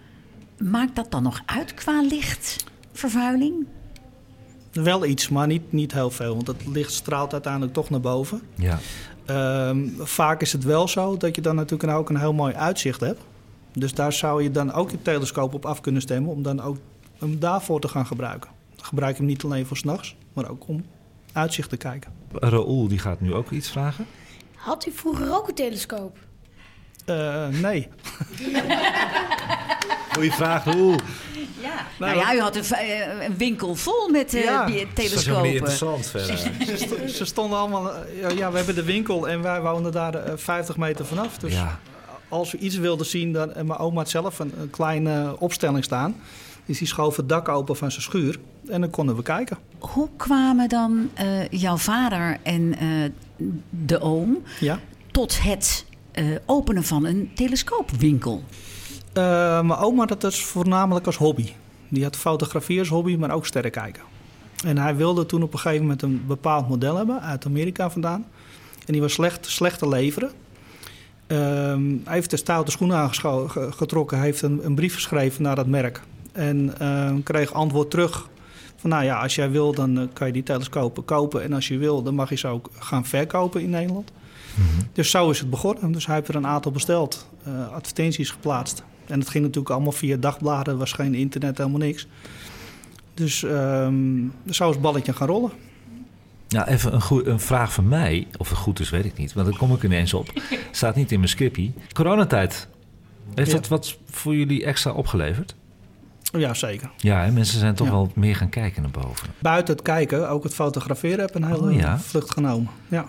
[SPEAKER 6] maakt dat dan nog uit qua lichtvervuiling?
[SPEAKER 9] Wel iets, maar niet, niet heel veel. Want het licht straalt uiteindelijk toch naar boven.
[SPEAKER 3] Ja.
[SPEAKER 9] Ehm, vaak is het wel zo dat je dan natuurlijk ook een heel mooi uitzicht hebt. Dus daar zou je dan ook je telescoop op af kunnen stemmen... om dan ook hem daarvoor te gaan gebruiken. Dan gebruik je hem niet alleen voor s'nachts, maar ook om uitzicht te kijken.
[SPEAKER 3] Raoul die gaat nu ook iets vragen.
[SPEAKER 7] Had u vroeger ook een telescoop?
[SPEAKER 9] Eh, nee.
[SPEAKER 3] Goeie vraag, Raoul.
[SPEAKER 6] Ja. Nou, ja, u had een, v- eh, een winkel vol met eh,
[SPEAKER 9] Ja.
[SPEAKER 6] die
[SPEAKER 3] Dat is helemaal niet
[SPEAKER 6] telescopen.
[SPEAKER 3] interessant verder.
[SPEAKER 9] Ze, sto- ze stonden allemaal... eh, ja, ja, we hebben de winkel en wij woonden daar eh, 50 meter vanaf. Dus
[SPEAKER 3] Ja.
[SPEAKER 9] als we iets wilden zien, dan, en mijn oma had zelf een, een kleine eh, opstelling staan. Dus die schoof het dak open van zijn schuur. En dan konden we kijken.
[SPEAKER 6] Hoe kwamen dan eh, jouw vader en eh, de oom
[SPEAKER 9] Ja.
[SPEAKER 6] tot het eh, openen van een telescoopwinkel?
[SPEAKER 9] Eh, mijn oma dat is voornamelijk als hobby. Die had fotografie als hobby, maar ook sterren kijken. En hij wilde toen op een gegeven moment een bepaald model hebben uit Amerika vandaan. En die was slecht, slecht te leveren. Ehm, hij heeft de stoute schoenen aangetrokken. Hij heeft een, een brief geschreven naar dat merk. En ehm, kreeg antwoord terug. Van nou ja, als jij wil, dan eh, kan je die telescopen kopen. En als je wil, dan mag je ze ook gaan verkopen in Nederland. Dus zo is het begonnen. Dus hij heeft er een aantal besteld, eh, advertenties geplaatst. En het ging natuurlijk allemaal via dagbladen, was geen internet, helemaal niks. Dus ehm, zo is het balletje gaan rollen.
[SPEAKER 3] Nou, even een, goe- een vraag van mij. Of het goed is, weet ik niet. Want daar kom ik ineens op. Staat niet in mijn scriptie. Coronatijd. Heeft
[SPEAKER 9] Ja.
[SPEAKER 3] dat wat voor jullie extra opgeleverd?
[SPEAKER 9] Ja, zeker.
[SPEAKER 3] Ja, hè? mensen zijn toch
[SPEAKER 9] Ja.
[SPEAKER 3] wel meer gaan kijken naar boven.
[SPEAKER 9] Buiten het kijken, ook het fotograferen heb een hele
[SPEAKER 3] Oh, ja.
[SPEAKER 9] vlucht genomen. Ja.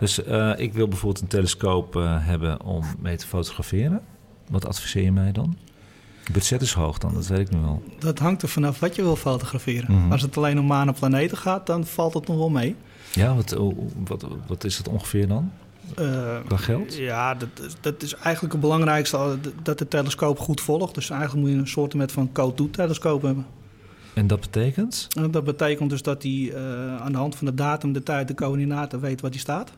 [SPEAKER 3] Dus eh, ik wil bijvoorbeeld een telescoop eh, hebben om mee te fotograferen. Wat adviseer je mij dan? Het budget is hoog dan, dat weet ik nu al.
[SPEAKER 9] Dat hangt er vanaf wat je wil fotograferen.
[SPEAKER 3] Mhm.
[SPEAKER 9] Als het alleen om manen planeten gaat, dan valt het nog wel mee.
[SPEAKER 3] Ja, wat, hoe- wat, wat is dat ongeveer dan?
[SPEAKER 9] Eh,
[SPEAKER 3] Qua geld?
[SPEAKER 9] Ja, dat, is- dat is eigenlijk het belangrijkste, eh, dat de telescoop goed volgt. Dus eigenlijk moet je een soort met van CO2-telescoop hebben.
[SPEAKER 3] En dat betekent?
[SPEAKER 9] En dat betekent dus dat hij eh, aan de hand van de datum, de tijd, de coördinaten weet wat hij staat.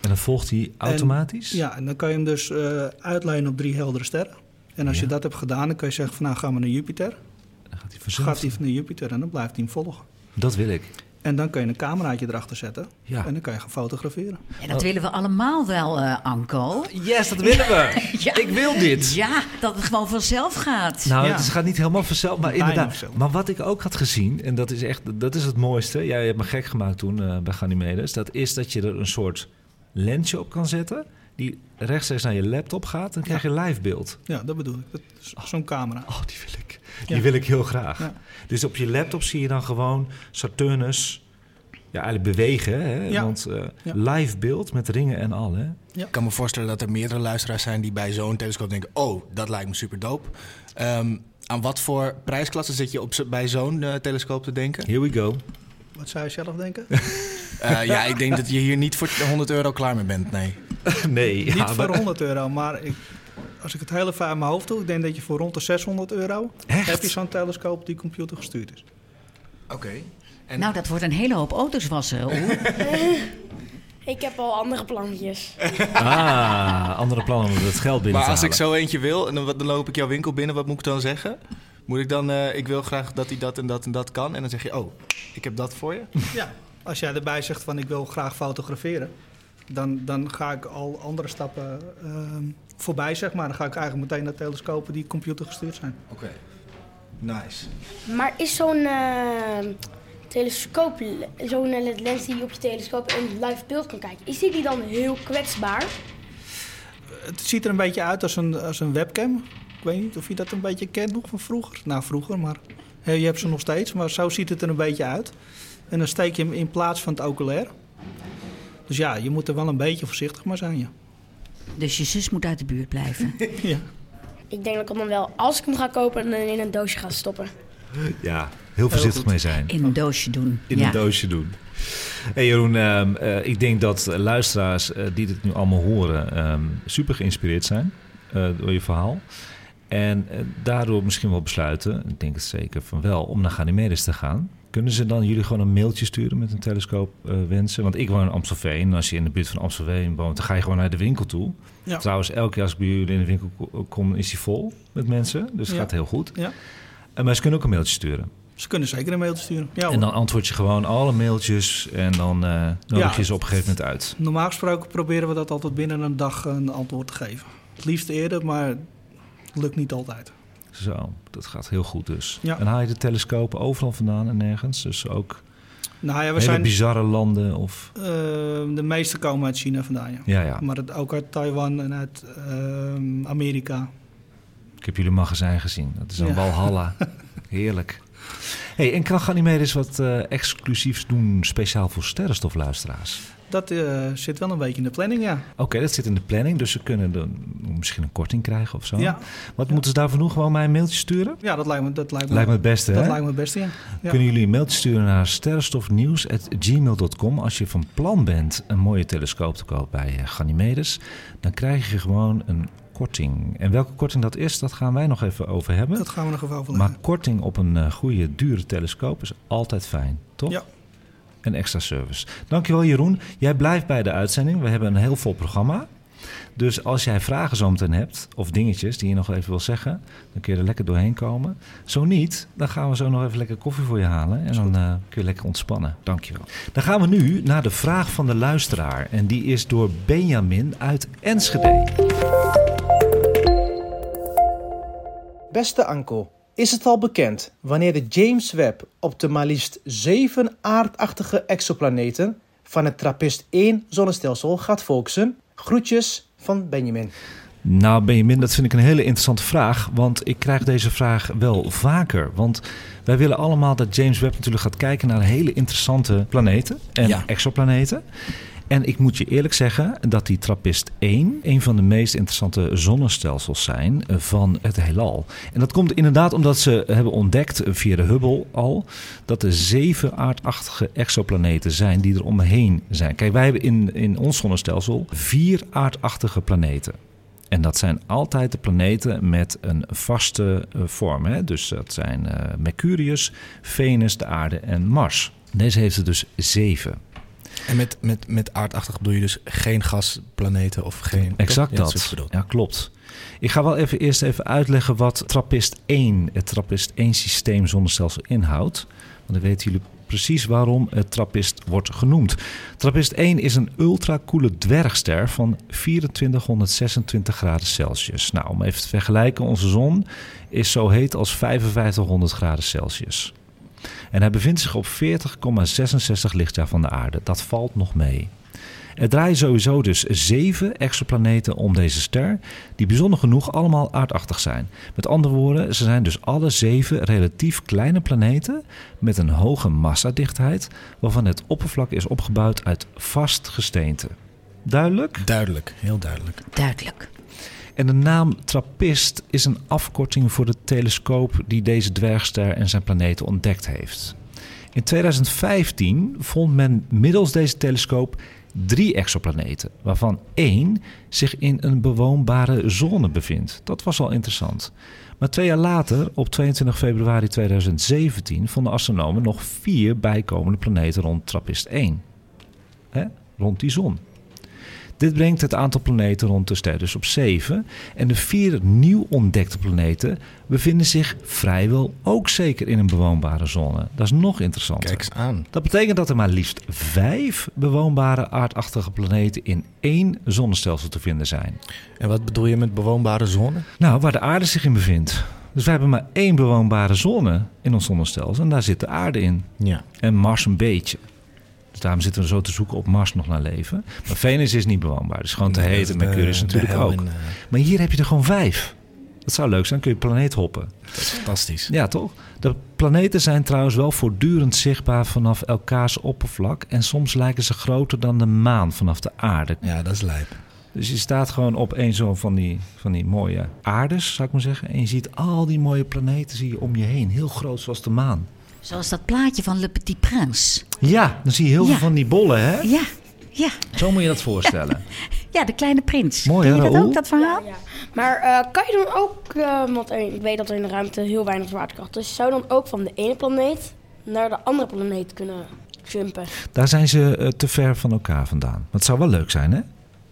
[SPEAKER 3] En dan volgt hij automatisch?
[SPEAKER 9] Ja, en dan kan je hem dus eh uitlijnen op drie heldere sterren. En als je dat hebt gedaan, dan kan je zeggen van nou gaan we naar Jupiter.
[SPEAKER 3] Dan gaat hij
[SPEAKER 9] Gaat
[SPEAKER 3] vanzelf.
[SPEAKER 9] hij naar Jupiter en dan blijft hij hem volgen.
[SPEAKER 3] Dat wil ik.
[SPEAKER 9] En dan kan je een cameraatje erachter zetten
[SPEAKER 3] Ja.
[SPEAKER 9] en dan kan je gaan fotograferen.
[SPEAKER 6] En
[SPEAKER 3] Oh.
[SPEAKER 6] dat willen we allemaal wel, eh, Anko.
[SPEAKER 3] Yes, dat willen we.
[SPEAKER 6] Ja.
[SPEAKER 3] Ik wil dit.
[SPEAKER 6] Ja, dat het gewoon vanzelf gaat.
[SPEAKER 3] Nou,
[SPEAKER 9] Ja.
[SPEAKER 3] het is- gaat niet helemaal vanzelf, maar
[SPEAKER 9] Bijna
[SPEAKER 3] inderdaad.
[SPEAKER 9] vanzelf.
[SPEAKER 3] Maar wat ik ook had gezien, en dat is echt dat is het mooiste. Jij hebt me gek gemaakt toen eh, bij Ganymedes. Dat is dat je er een soort lensje op kan zetten. Die rechtstreeks naar je laptop gaat. Dan krijg je live beeld.
[SPEAKER 9] Ja, dat bedoel ik. Dat is zo'n camera.
[SPEAKER 3] Oh, die wil ik. Die wil ik heel graag.
[SPEAKER 9] Ja.
[SPEAKER 3] Dus op je laptop zie je dan gewoon Saturnus ja, eigenlijk bewegen. Hè?
[SPEAKER 9] Ja.
[SPEAKER 3] Want eh,
[SPEAKER 9] Ja.
[SPEAKER 3] live beeld met ringen en al. Hè?
[SPEAKER 5] Ik kan me voorstellen dat er meerdere luisteraars zijn die bij zo'n telescoop denken: Oh, dat lijkt me Ehm, super dope. aan wat voor prijsklasse zit je op, zo- bij zo'n eh, telescoop te denken?
[SPEAKER 3] Here we go.
[SPEAKER 9] Wat zou je zelf denken?
[SPEAKER 5] Eh, ja, ik denk dat je hier niet voor 100 euro klaar mee bent, nee.
[SPEAKER 3] Nee, ja,
[SPEAKER 9] Niet voor
[SPEAKER 3] maar-
[SPEAKER 9] 100 euro, maar ik, als ik het heel even aan mijn hoofd doe, ik denk dat je voor rond de 600 euro
[SPEAKER 3] Echt?
[SPEAKER 9] heb je zo'n telescoop die computer gestuurd is.
[SPEAKER 5] Oké. En-
[SPEAKER 6] Nou, dat wordt een hele hoop auto's wassen. Roel.
[SPEAKER 7] Ik heb al andere plannetjes.
[SPEAKER 3] Ah, andere plannen om het geld binnen
[SPEAKER 5] Maar
[SPEAKER 3] te
[SPEAKER 5] als ik
[SPEAKER 3] halen.
[SPEAKER 5] zo eentje wil en dan, dan loop ik jouw winkel binnen, wat moet ik dan zeggen? Moet ik dan, eh, ik wil graag dat hij dat en dat en dat kan. En dan zeg je, oh, ik heb dat voor je.
[SPEAKER 9] Ja, als jij erbij zegt van ik wil graag fotograferen, dan, dan ga ik al andere stappen ehm, voorbij, zeg maar. Dan ga ik eigenlijk meteen naar telescopen die computer gestuurd zijn.
[SPEAKER 5] Oké. Nice.
[SPEAKER 7] Maar is zo'n eh, telescoop, zo'n eh, lens die je op je telescoop een live beeld kan kijken, is die die dan heel kwetsbaar?
[SPEAKER 9] Het ziet er een beetje uit als een, als een webcam. Ik weet niet of je dat een beetje kent nog van vroeger. Nou, vroeger, maar hè, je hebt ze nog steeds. Maar zo ziet het er een beetje uit. En dan steek je hem in plaats van het oculair. Dus ja, je moet er wel een beetje voorzichtig mee zijn, ja.
[SPEAKER 6] Dus je zus moet uit de buurt blijven.
[SPEAKER 9] ja.
[SPEAKER 7] Ik denk dat ik hem dan wel, als ik hem ga kopen, dan in een doosje ga stoppen.
[SPEAKER 3] Ja, heel voorzichtig mee zijn.
[SPEAKER 6] In een doosje doen.
[SPEAKER 3] in
[SPEAKER 6] ja.
[SPEAKER 3] een doosje doen. Hey Jeroen, ehm, eh, ik denk dat luisteraars eh, die dit nu allemaal horen ehm, super geïnspireerd zijn eh, door je verhaal. En eh, daardoor misschien wel besluiten, ik denk het zeker van wel, om naar Ganymedes te gaan. Kunnen ze dan jullie gewoon een mailtje sturen met een telescoop eh, wensen? Want ik woon in Amstelveen. En als je in de buurt van Amstelveen woont, dan ga je gewoon naar de winkel toe.
[SPEAKER 9] Ja.
[SPEAKER 3] Trouwens, elke keer als ik bij jullie in de winkel ko- kom, is die vol met mensen. Dus het
[SPEAKER 9] Ja.
[SPEAKER 3] gaat heel goed.
[SPEAKER 9] Ja.
[SPEAKER 3] Eh, maar ze kunnen ook een mailtje sturen.
[SPEAKER 9] Ze kunnen zeker een mail sturen. Ja,
[SPEAKER 3] En dan antwoord je gewoon alle mailtjes en dan eh nodig
[SPEAKER 9] Ja.
[SPEAKER 3] je ze op een gegeven moment uit.
[SPEAKER 9] Normaal gesproken proberen we dat altijd binnen een dag een antwoord te geven. Het liefst eerder, maar het lukt niet altijd.
[SPEAKER 3] Zo, dat gaat heel goed dus.
[SPEAKER 9] Ja.
[SPEAKER 3] En haal je de telescopen overal vandaan en nergens. Dus ook
[SPEAKER 9] Nou ja, we
[SPEAKER 3] hele
[SPEAKER 9] zijn,
[SPEAKER 3] bizarre landen of...
[SPEAKER 9] eh, de meeste komen uit China vandaan, ja.
[SPEAKER 3] Ja, ja.
[SPEAKER 9] Maar het, ook uit Taiwan en uit ehm, Amerika.
[SPEAKER 3] Ik heb jullie magazijn gezien. Dat is een
[SPEAKER 9] Ja.
[SPEAKER 3] walhalla. Heerlijk. hey, en kan Ganymedes wat eh, exclusiefs doen speciaal voor sterrenstofluisteraars?
[SPEAKER 9] Dat eh, zit wel een beetje in de planning, ja.
[SPEAKER 3] Oké, dat zit in de planning, dus ze kunnen dan misschien een korting krijgen of zo.
[SPEAKER 9] Ja,
[SPEAKER 3] Wat moeten ze daarvoor doen? Gewoon mij een mailtje sturen?
[SPEAKER 9] ja dat lijkt me, dat lijkt me,
[SPEAKER 3] Lijkt me het beste,
[SPEAKER 9] dat
[SPEAKER 3] hè?
[SPEAKER 9] lijkt me het beste, ja. Ja.
[SPEAKER 3] Kunnen jullie een mailtje sturen naar sterrenstofnieuws.gmail.com als je van plan bent een mooie telescoop te kopen bij eh, Ganymedes. Dan krijg je gewoon een korting. En welke korting dat is, dat gaan wij nog even over hebben.
[SPEAKER 9] Dat gaan we nog even overleggen.
[SPEAKER 3] Maar korting op een eh, goede, dure telescoop is altijd fijn, toch?
[SPEAKER 9] Ja.
[SPEAKER 3] Een extra service. Dankjewel Jeroen. Jij blijft bij de uitzending. We hebben een heel vol programma. Dus als jij vragen zometeen hebt, of dingetjes die je nog even wil zeggen, dan kun je er lekker doorheen komen. Zo niet, dan gaan we zo nog even lekker koffie voor je halen. En dan eh, kun je lekker ontspannen. Dankjewel. Dan gaan we nu naar de vraag van de luisteraar. En die is door Benjamin uit Enschede.
[SPEAKER 10] Beste Anko, is het al bekend wanneer de James Webb op de maar liefst zeven aardachtige exoplaneten van het Trappist 1 zonnestelsel gaat focussen? Groetjes van Benjamin.
[SPEAKER 3] Nou, Benjamin, dat vind ik een hele interessante vraag. Want ik krijg deze vraag wel vaker. Want wij willen allemaal dat James Webb natuurlijk gaat kijken naar hele interessante planeten en
[SPEAKER 5] Ja.
[SPEAKER 3] exoplaneten. En ik moet je eerlijk zeggen dat die Trappist 1 een van de meest interessante zonnestelsels zijn eh, van het heelal. En dat komt inderdaad omdat ze hebben ontdekt eh, via de Hubble al dat er zeven aardachtige exoplaneten zijn die er omheen zijn. Kijk, wij hebben in, in ons zonnestelsel vier aardachtige planeten. En dat zijn altijd de planeten met een vaste eh, vorm. Hè? Dus dat zijn eh, Mercurius, Venus, de aarde en Mars. Deze heeft er dus zeven.
[SPEAKER 5] En met, met, met aardachtig bedoel je dus geen gasplaneten of geen...
[SPEAKER 3] Exact
[SPEAKER 5] Ja, is wat ik
[SPEAKER 3] dat.
[SPEAKER 5] bedoel.
[SPEAKER 3] Ja, klopt. Ik ga wel even eerst even uitleggen wat Trappist 1, het Trappist 1 systeem zonnestelsel inhoudt. Want dan weten jullie precies waarom het Trappist wordt genoemd. Trappist 1 is een ultrakoele dwergster van 2426 graden Celsius. Nou, om even te vergelijken, onze zon is zo heet als 5500 graden Celsius. En hij bevindt zich op 40,66 lichtjaar van de aarde. Dat valt nog mee. Er draaien sowieso dus zeven exoplaneten om deze ster, die bijzonder genoeg allemaal aardachtig zijn. Met andere woorden, ze zijn dus alle zeven relatief kleine planeten met een hoge massadichtheid, waarvan het oppervlak is opgebouwd uit vast gesteente. Duidelijk?
[SPEAKER 5] Duidelijk, heel duidelijk.
[SPEAKER 6] Duidelijk.
[SPEAKER 3] En de naam Trappist is een afkorting voor de telescoop die deze dwergster en zijn planeten ontdekt heeft. In 2015 vond men middels deze telescoop drie exoplaneten, waarvan één zich in een bewoonbare zone bevindt. Dat was al interessant. Maar twee jaar later, op 22 februari 2017, vonden astronomen nog vier bijkomende planeten rond Trappist 1. Hè? Rond die zon. Dit brengt het aantal planeten rond de ster dus op 7. En de vier nieuw ontdekte planeten bevinden zich vrijwel ook zeker in een bewoonbare zone. Dat is nog interessanter.
[SPEAKER 5] Kijk eens aan.
[SPEAKER 3] Dat betekent dat er maar liefst vijf bewoonbare aardachtige planeten in één zonnestelsel te vinden zijn.
[SPEAKER 5] En wat bedoel je met bewoonbare zone?
[SPEAKER 3] Nou, waar de aarde zich in bevindt. Dus we hebben maar één bewoonbare zone in ons zonnestelsel en daar zit de aarde in.
[SPEAKER 5] Ja.
[SPEAKER 3] En Mars een beetje. Dus daarom zitten we zo te zoeken op Mars nog naar leven. Maar Venus is niet bewoonbaar. Dus gewoon te
[SPEAKER 5] Nee,
[SPEAKER 3] heet.
[SPEAKER 5] dat
[SPEAKER 3] En
[SPEAKER 5] is de-
[SPEAKER 3] Mercurius
[SPEAKER 5] de
[SPEAKER 3] natuurlijk
[SPEAKER 5] hel
[SPEAKER 3] ook.
[SPEAKER 5] in, eh.
[SPEAKER 3] Maar hier heb je er gewoon vijf. Dat zou leuk zijn. kun je planeet hoppen.
[SPEAKER 5] Fantastisch.
[SPEAKER 3] Ja, toch? De planeten zijn trouwens wel voortdurend zichtbaar vanaf elkaars oppervlak. En soms lijken ze groter dan de maan vanaf de aarde.
[SPEAKER 5] Ja, dat is lijp.
[SPEAKER 3] Dus je staat gewoon op een zo'n van die, van die mooie aardes, zou ik maar zeggen. En je ziet al die mooie planeten zie je om je heen. Heel groot zoals de maan.
[SPEAKER 6] Zoals dat plaatje van Le Petit Prince.
[SPEAKER 3] Ja, dan zie je heel
[SPEAKER 6] Ja.
[SPEAKER 3] veel van die bollen, hè?
[SPEAKER 6] Ja, ja.
[SPEAKER 3] Zo moet je dat voorstellen.
[SPEAKER 6] ja de kleine prins.
[SPEAKER 3] Mooi,
[SPEAKER 6] Ken
[SPEAKER 3] hè,
[SPEAKER 6] je dat
[SPEAKER 3] Raoul?
[SPEAKER 6] ook, dat verhaal?
[SPEAKER 7] Ja. Maar eh, kan je dan ook, eh, want er- ik weet dat er in de ruimte heel weinig zwaartekracht is, zou je dan ook van de ene planeet naar de andere planeet kunnen jumpen?
[SPEAKER 3] Daar zijn ze eh, te ver van elkaar vandaan. Maar het zou wel leuk zijn, hè?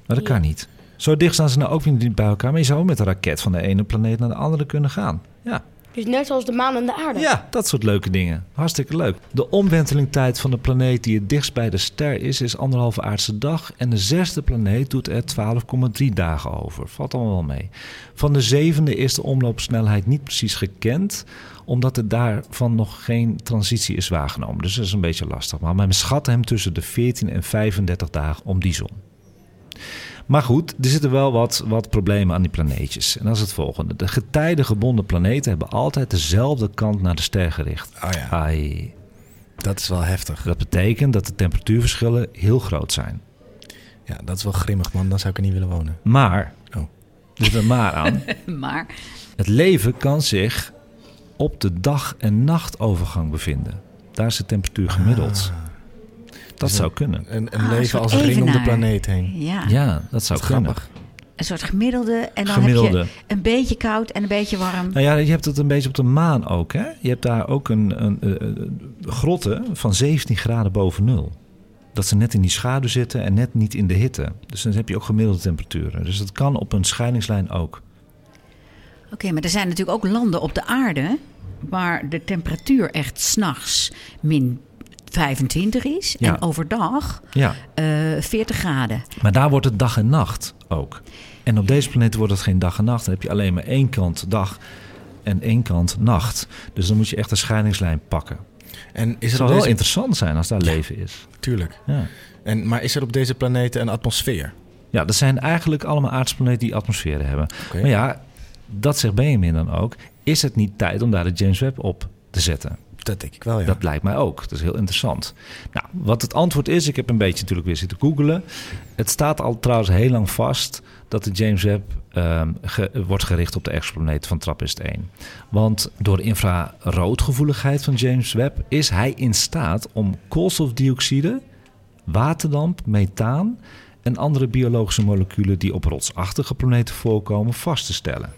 [SPEAKER 3] Maar dat kan niet. Zo dicht staan ze nou ook weer niet bij elkaar. Maar je zou met een raket van de ene planeet naar de andere kunnen gaan. Ja.
[SPEAKER 7] Dus net zoals de maan en de aarde.
[SPEAKER 3] ja, dat soort leuke dingen. Hartstikke leuk. De omwentelingtijd van de planeet die het dichtst bij de ster is, is anderhalve aardse dag. En de zesde planeet doet er 12,3 dagen over. Valt allemaal wel mee. Van de zevende is de omloopsnelheid niet precies gekend, omdat er daarvan nog geen transitie is waargenomen. Dus dat is een beetje lastig. Maar men schat hem tussen de 14 en 35 dagen om die zon. Maar goed, er zitten wel wat, wat problemen aan die planeetjes. En dat is het volgende. De getijdengebonden planeten hebben altijd dezelfde kant naar de ster gericht.
[SPEAKER 5] Oh ja.
[SPEAKER 3] Ai.
[SPEAKER 5] Dat is wel heftig.
[SPEAKER 3] Dat betekent dat de temperatuurverschillen heel groot zijn.
[SPEAKER 5] Ja, dat is wel grimmig, man. Dan zou ik er niet willen wonen.
[SPEAKER 3] Maar,
[SPEAKER 5] Oh.
[SPEAKER 3] er zit een maar aan,
[SPEAKER 6] Maar
[SPEAKER 3] het leven kan zich op de dag- en nachtovergang bevinden. Daar is de temperatuur
[SPEAKER 5] Ah.
[SPEAKER 3] gemiddeld. Dat
[SPEAKER 5] Dus
[SPEAKER 3] zou kunnen.
[SPEAKER 5] Een, een
[SPEAKER 6] Ah, een
[SPEAKER 5] leven
[SPEAKER 6] soort
[SPEAKER 5] als een ring om de
[SPEAKER 6] evenaar.
[SPEAKER 5] planeet heen.
[SPEAKER 6] ja,
[SPEAKER 3] Ja, dat zou
[SPEAKER 5] Ah. Wat
[SPEAKER 3] kunnen.
[SPEAKER 5] grappig.
[SPEAKER 6] een soort gemiddelde. En dan
[SPEAKER 3] Gemiddelde.
[SPEAKER 6] heb je een beetje koud en een beetje warm.
[SPEAKER 3] Nou ja, je hebt het een beetje op de maan ook, hè? Je hebt daar ook een, een, eh, eh, grotten van 17 graden boven nul. Dat ze net in die schaduw zitten en net niet in de hitte. Dus dan heb je ook gemiddelde temperaturen. Dus dat kan op een scheidingslijn ook.
[SPEAKER 6] Oké, maar er zijn natuurlijk ook landen op de aarde waar de temperatuur echt s'nachts min 25 is.
[SPEAKER 3] Ja.
[SPEAKER 6] En overdag
[SPEAKER 3] Ja,
[SPEAKER 6] eh 40 graden.
[SPEAKER 3] maar daar wordt het dag en nacht ook. En op deze planeet wordt het geen dag en nacht. Dan heb je alleen maar één kant dag en één kant nacht. Dus dan moet je echt een scheidingslijn pakken.
[SPEAKER 5] En is
[SPEAKER 3] Het
[SPEAKER 5] er
[SPEAKER 3] zou
[SPEAKER 5] op
[SPEAKER 3] wel
[SPEAKER 5] deze...
[SPEAKER 3] interessant zijn als daar leven is.
[SPEAKER 5] Tuurlijk.
[SPEAKER 3] Ja.
[SPEAKER 5] En, maar is er op deze planeet een atmosfeer?
[SPEAKER 3] Ja, dat zijn eigenlijk allemaal aardse planeten die atmosferen hebben.
[SPEAKER 5] Oké.
[SPEAKER 3] Maar ja, dat zegt Benjamin dan ook. Is het niet tijd om daar de James Webb op te zetten?
[SPEAKER 5] Dat denk ik wel, ja.
[SPEAKER 3] Dat lijkt mij ook. Dat is heel interessant. Nou, wat het antwoord is, ik heb een beetje natuurlijk weer zitten googelen. Het staat al trouwens heel lang vast dat de James Webb ehm, ge- wordt gericht op de exoplaneet van Trappist 1. Want door de infraroodgevoeligheid van James Webb is hij in staat om koolstofdioxide, waterdamp, methaan en andere biologische moleculen die op rotsachtige planeten voorkomen vast te stellen.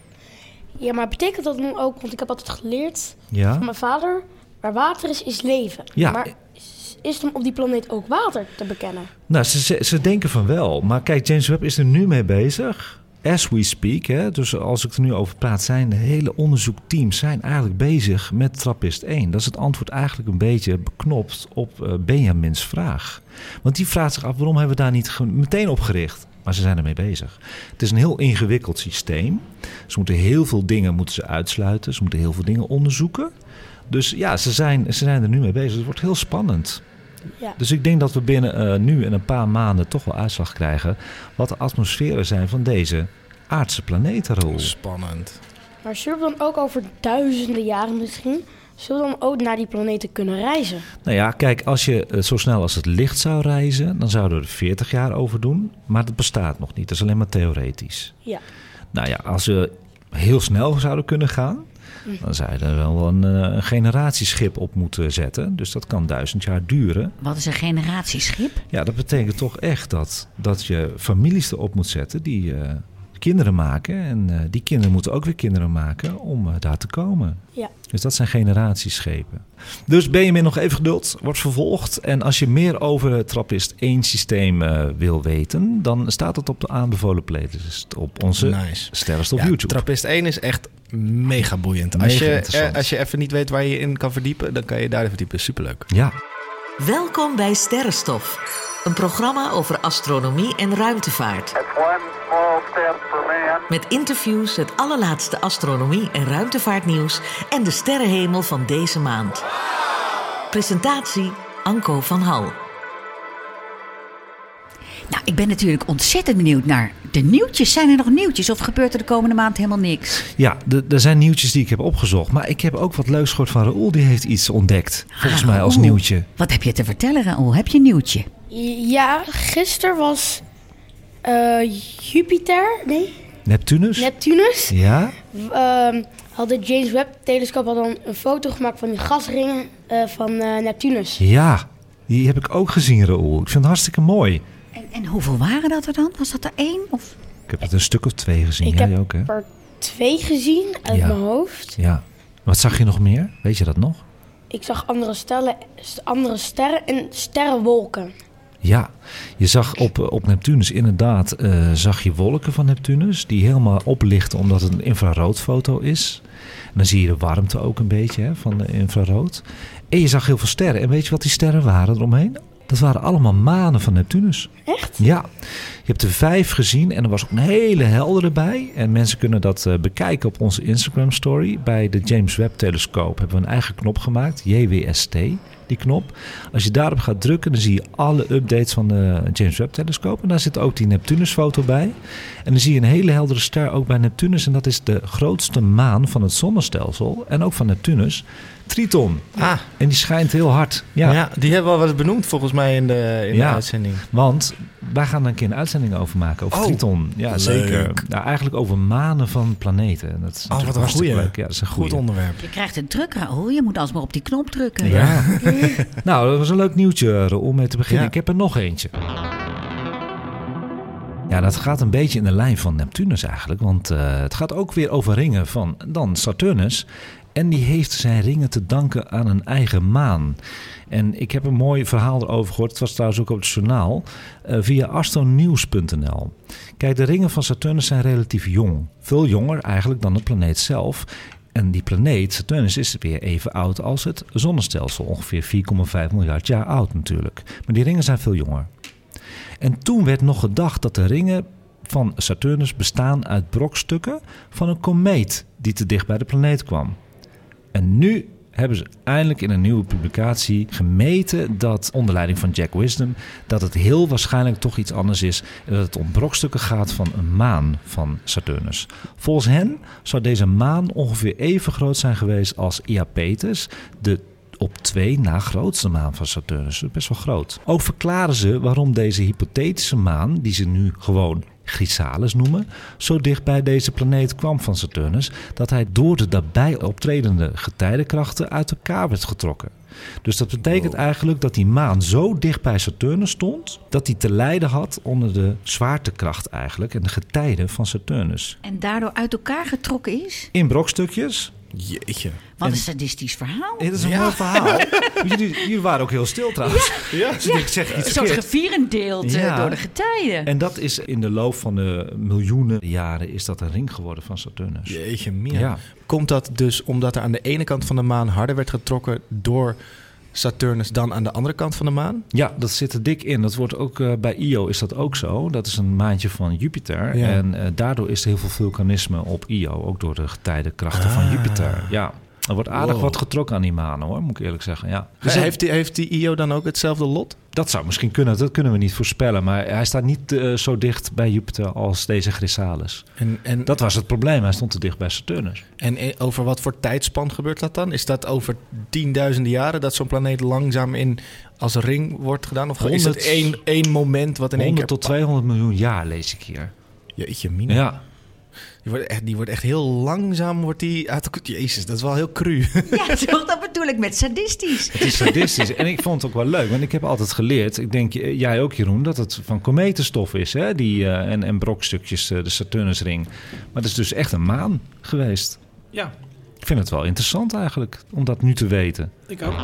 [SPEAKER 7] Ja, maar betekent dat dan ook, want ik heb altijd geleerd
[SPEAKER 3] Ja.
[SPEAKER 7] van mijn vader, waar water is, is leven.
[SPEAKER 3] Ja.
[SPEAKER 7] Maar is- is dan op die planeet ook water te bekennen?
[SPEAKER 3] Nou, ze, ze, ze denken van wel. Maar kijk, James Webb is er nu mee bezig. As we speak, hè, dus als ik er nu over praat, zijn de hele onderzoekteams zijn eigenlijk bezig met Trappist 1. Dat is het antwoord eigenlijk een beetje beknopt op eh, Benjamin's vraag. Want die vraagt zich af, waarom hebben we daar niet ge- meteen op gericht? Maar ze zijn ermee bezig. Het is een heel ingewikkeld systeem. Ze moeten heel veel dingen moeten ze uitsluiten. Ze moeten heel veel dingen onderzoeken. Dus ja, ze zijn, ze zijn er nu mee bezig. Het wordt heel spannend.
[SPEAKER 7] Ja.
[SPEAKER 3] Dus ik denk dat we binnen eh, nu en een paar maanden toch wel uitslag krijgen wat de atmosferen zijn van deze aardse planetenrol.
[SPEAKER 5] Spannend.
[SPEAKER 7] Maar zullen we dan ook over duizenden jaren misschien, zullen we dan ook naar die planeten kunnen reizen?
[SPEAKER 3] Nou ja, kijk, als je eh, zo snel als het licht zou reizen, dan zouden we er 40 jaar over doen. Maar dat bestaat nog niet. Dat is alleen maar theoretisch.
[SPEAKER 7] Ja.
[SPEAKER 3] Nou ja, als we heel snel zouden kunnen gaan, Dan zou je er wel een, eh, een generatieschip op moeten zetten. Dus dat kan duizend jaar duren.
[SPEAKER 6] Wat is een generatieschip?
[SPEAKER 3] Ja, dat betekent toch echt dat, dat je families erop moet zetten die eh, kinderen maken. En eh, die kinderen moeten ook weer kinderen maken om eh, daar te komen.
[SPEAKER 7] Ja.
[SPEAKER 3] Dus dat zijn generatieschepen. Dus Benjamin, nog even geduld, wordt vervolgd. En als je meer over het Trappist 1 systeem eh, wil weten, dan staat het op de aanbevolen playlist op onze
[SPEAKER 5] Nice.
[SPEAKER 3] Sterrenstof
[SPEAKER 5] Ja,
[SPEAKER 3] YouTube.
[SPEAKER 5] Trappist 1 is echt mega boeiend. Als,
[SPEAKER 3] Mega
[SPEAKER 5] je,
[SPEAKER 3] interessant.
[SPEAKER 5] eh, als je even niet weet waar je je in kan verdiepen, dan kan je daarin verdiepen. Superleuk.
[SPEAKER 3] Ja,
[SPEAKER 2] Welkom bij Sterrenstof, een programma over astronomie en ruimtevaart. Met interviews, het allerlaatste astronomie- en ruimtevaartnieuws en de sterrenhemel van deze maand. Presentatie Anko van Hal.
[SPEAKER 6] Nou, ik ben natuurlijk ontzettend benieuwd naar de nieuwtjes. Zijn er nog nieuwtjes of gebeurt er de komende maand helemaal niks?
[SPEAKER 3] ja d- er zijn nieuwtjes die ik heb opgezocht. Maar ik heb ook wat leuks gehoord van Raoul. Die heeft iets ontdekt, volgens mij als
[SPEAKER 6] Raoul.
[SPEAKER 3] nieuwtje.
[SPEAKER 6] Wat heb je te vertellen, Raoul? Heb je een nieuwtje?
[SPEAKER 7] Ja, gisteren was eh, Jupiter, nee,
[SPEAKER 3] Neptunus?
[SPEAKER 7] Neptunus.
[SPEAKER 3] ja?
[SPEAKER 7] Ehm, had het James Webb-telescoop had dan een foto gemaakt van die gasringen eh, van eh, Neptunus.
[SPEAKER 3] Ja, die heb ik ook gezien, Raoul. Ik vind het hartstikke mooi.
[SPEAKER 6] En, en hoeveel waren dat er dan? Was dat er één? Of?
[SPEAKER 3] Ik heb het een stuk of twee gezien.
[SPEAKER 7] Ik
[SPEAKER 3] Jij
[SPEAKER 7] heb
[SPEAKER 3] ook, hè?
[SPEAKER 7] er twee gezien uit
[SPEAKER 3] Ja.
[SPEAKER 7] mijn hoofd.
[SPEAKER 3] Ja. Wat zag je nog meer? Weet je dat nog?
[SPEAKER 7] Ik zag andere, stellen, st- andere sterren en sterrenwolken.
[SPEAKER 3] Ja, je zag op, eh, op Neptunus inderdaad, eh, zag je wolken van Neptunus die helemaal oplichten omdat het een infraroodfoto is. En dan zie je de warmte ook een beetje hè, van de infrarood. En je zag heel veel sterren. En weet je wat die sterren waren eromheen? Dat waren allemaal manen van Neptunus.
[SPEAKER 7] Echt?
[SPEAKER 3] Ja, je hebt er vijf gezien en er was ook een hele heldere bij. En mensen kunnen dat eh, bekijken op onze Instagram story. Bij de James Webb telescoop hebben we een eigen knop gemaakt, JWST, die knop. Als je daarop gaat drukken, dan zie je alle updates van de James Webb telescoop. En daar zit ook die Neptunus foto bij. En dan zie je een hele heldere ster ook bij Neptunus. En dat is de grootste maan van het zonnestelsel en ook van Neptunus, Triton.
[SPEAKER 5] Ah,
[SPEAKER 3] En die schijnt heel hard.
[SPEAKER 5] ja.
[SPEAKER 3] Ja,
[SPEAKER 5] die hebben we al wel eens benoemd volgens mij in de, in
[SPEAKER 3] Ja.
[SPEAKER 5] de uitzending.
[SPEAKER 3] Want wij gaan er een keer een uitzending over maken. Over
[SPEAKER 5] Oh,
[SPEAKER 3] Triton. Ja,
[SPEAKER 5] leuk.
[SPEAKER 3] zeker. Nou, eigenlijk over manen van planeten. En Dat is natuurlijk
[SPEAKER 5] Oh, wat een
[SPEAKER 3] hartstikke
[SPEAKER 5] goeie.
[SPEAKER 3] leuk. Ja, dat is een
[SPEAKER 5] Goed
[SPEAKER 3] goede.
[SPEAKER 5] onderwerp.
[SPEAKER 6] Je krijgt het druk, Raoul. Je moet alsmaar op die knop drukken.
[SPEAKER 3] Ja. nou, dat was een leuk nieuwtje Roel, om mee te beginnen.
[SPEAKER 5] Ja.
[SPEAKER 3] Ik heb er nog eentje. Ja, dat gaat een beetje in de lijn van Neptunus eigenlijk. Want eh, het gaat ook weer over ringen van dan Saturnus. En die heeft zijn ringen te danken aan een eigen maan. En ik heb een mooi verhaal erover gehoord. Het was trouwens ook op het journaal. eh, via astronews.nl. Kijk, de ringen van Saturnus zijn relatief jong. Veel jonger eigenlijk dan de planeet zelf. En die planeet, Saturnus, is weer even oud als het zonnestelsel. Ongeveer 4,5 miljard jaar oud natuurlijk. Maar die ringen zijn veel jonger. En toen werd nog gedacht dat de ringen van Saturnus bestaan uit brokstukken van een komeet die te dicht bij de planeet kwam. En nu hebben ze eindelijk in een nieuwe publicatie gemeten dat onder leiding van Jack Wisdom dat het heel waarschijnlijk toch iets anders is en dat het om brokstukken gaat van een maan van Saturnus. Volgens hen zou deze maan ongeveer even groot zijn geweest als Iapetus, de op twee na grootste maan van Saturnus. Dat is best wel groot. Ook verklaren ze waarom deze hypothetische maan, die ze nu gewoon Chrysalis noemen, zo dicht bij deze planeet kwam van Saturnus dat hij door de daarbij optredende getijdenkrachten uit elkaar werd getrokken. Dus dat betekent eigenlijk dat die maan zo dicht bij Saturnus stond dat hij te lijden had onder de zwaartekracht eigenlijk en de getijden van Saturnus.
[SPEAKER 6] En daardoor uit elkaar getrokken is?
[SPEAKER 3] In brokstukjes.
[SPEAKER 5] Jeetje.
[SPEAKER 6] Wat een sadistisch verhaal.
[SPEAKER 3] Dit is een mooi verhaal. jullie, jullie waren ook heel stil trouwens. Ja. Dus ik zeg iets
[SPEAKER 6] Een soort
[SPEAKER 3] verkeerd.
[SPEAKER 6] gevierendeeld eh,
[SPEAKER 3] Ja.
[SPEAKER 6] door de getijden.
[SPEAKER 3] En dat is in de loop van de miljoenen jaren is dat een ring geworden van Saturnus.
[SPEAKER 5] Jeetje, Mina.
[SPEAKER 3] Ja.
[SPEAKER 5] Komt dat dus omdat er aan de ene kant van de maan harder werd getrokken door Saturnus dan aan de andere kant van de maan?
[SPEAKER 3] Ja, dat zit er dik in. Dat wordt ook eh, bij Io is dat ook zo. Dat is een maantje van Jupiter.
[SPEAKER 5] Ja.
[SPEAKER 3] En eh, daardoor is er heel veel vulkanisme op Io, ook door de getijdenkrachten van Jupiter. Ja. Er wordt aardig
[SPEAKER 5] Wow.
[SPEAKER 3] wat getrokken aan die manen hoor, moet ik eerlijk zeggen. Ja.
[SPEAKER 5] Dus
[SPEAKER 3] dat-
[SPEAKER 5] heeft, die, heeft die Io dan ook hetzelfde lot?
[SPEAKER 3] dat zou misschien kunnen, dat kunnen we niet voorspellen. Maar hij staat niet eh, zo dicht bij Jupiter als deze Chrysalis.
[SPEAKER 5] En, en,
[SPEAKER 3] Dat was het probleem, hij stond te dicht bij Saturnus.
[SPEAKER 5] en eh, over wat voor tijdspan gebeurt dat dan? Is dat over tienduizenden jaren dat zo'n planeet langzaam in als ring wordt gedaan? Of is
[SPEAKER 3] Honderd-
[SPEAKER 5] het één, één moment wat in één keer...
[SPEAKER 3] 100 tot 200 miljoen jaar lees ik hier.
[SPEAKER 5] Jeetje, Mina.
[SPEAKER 3] Ja.
[SPEAKER 5] Die wordt echt, die wordt echt heel langzaam wordt die uit de- Jezus, dat is wel heel cru.
[SPEAKER 6] Ja, toch? Dat bedoel ik met sadistisch.
[SPEAKER 3] Het is sadistisch. en ik vond het ook wel leuk. Want ik heb altijd geleerd, ik denk eh, jij ook Jeroen, dat het van kometenstof is. Hè? Die, eh, en, en brokstukjes, eh, de Saturnusring. Maar het is dus echt een maan geweest.
[SPEAKER 9] Ja,
[SPEAKER 3] Ik vind het wel interessant eigenlijk, om dat nu te weten.
[SPEAKER 9] ik ook.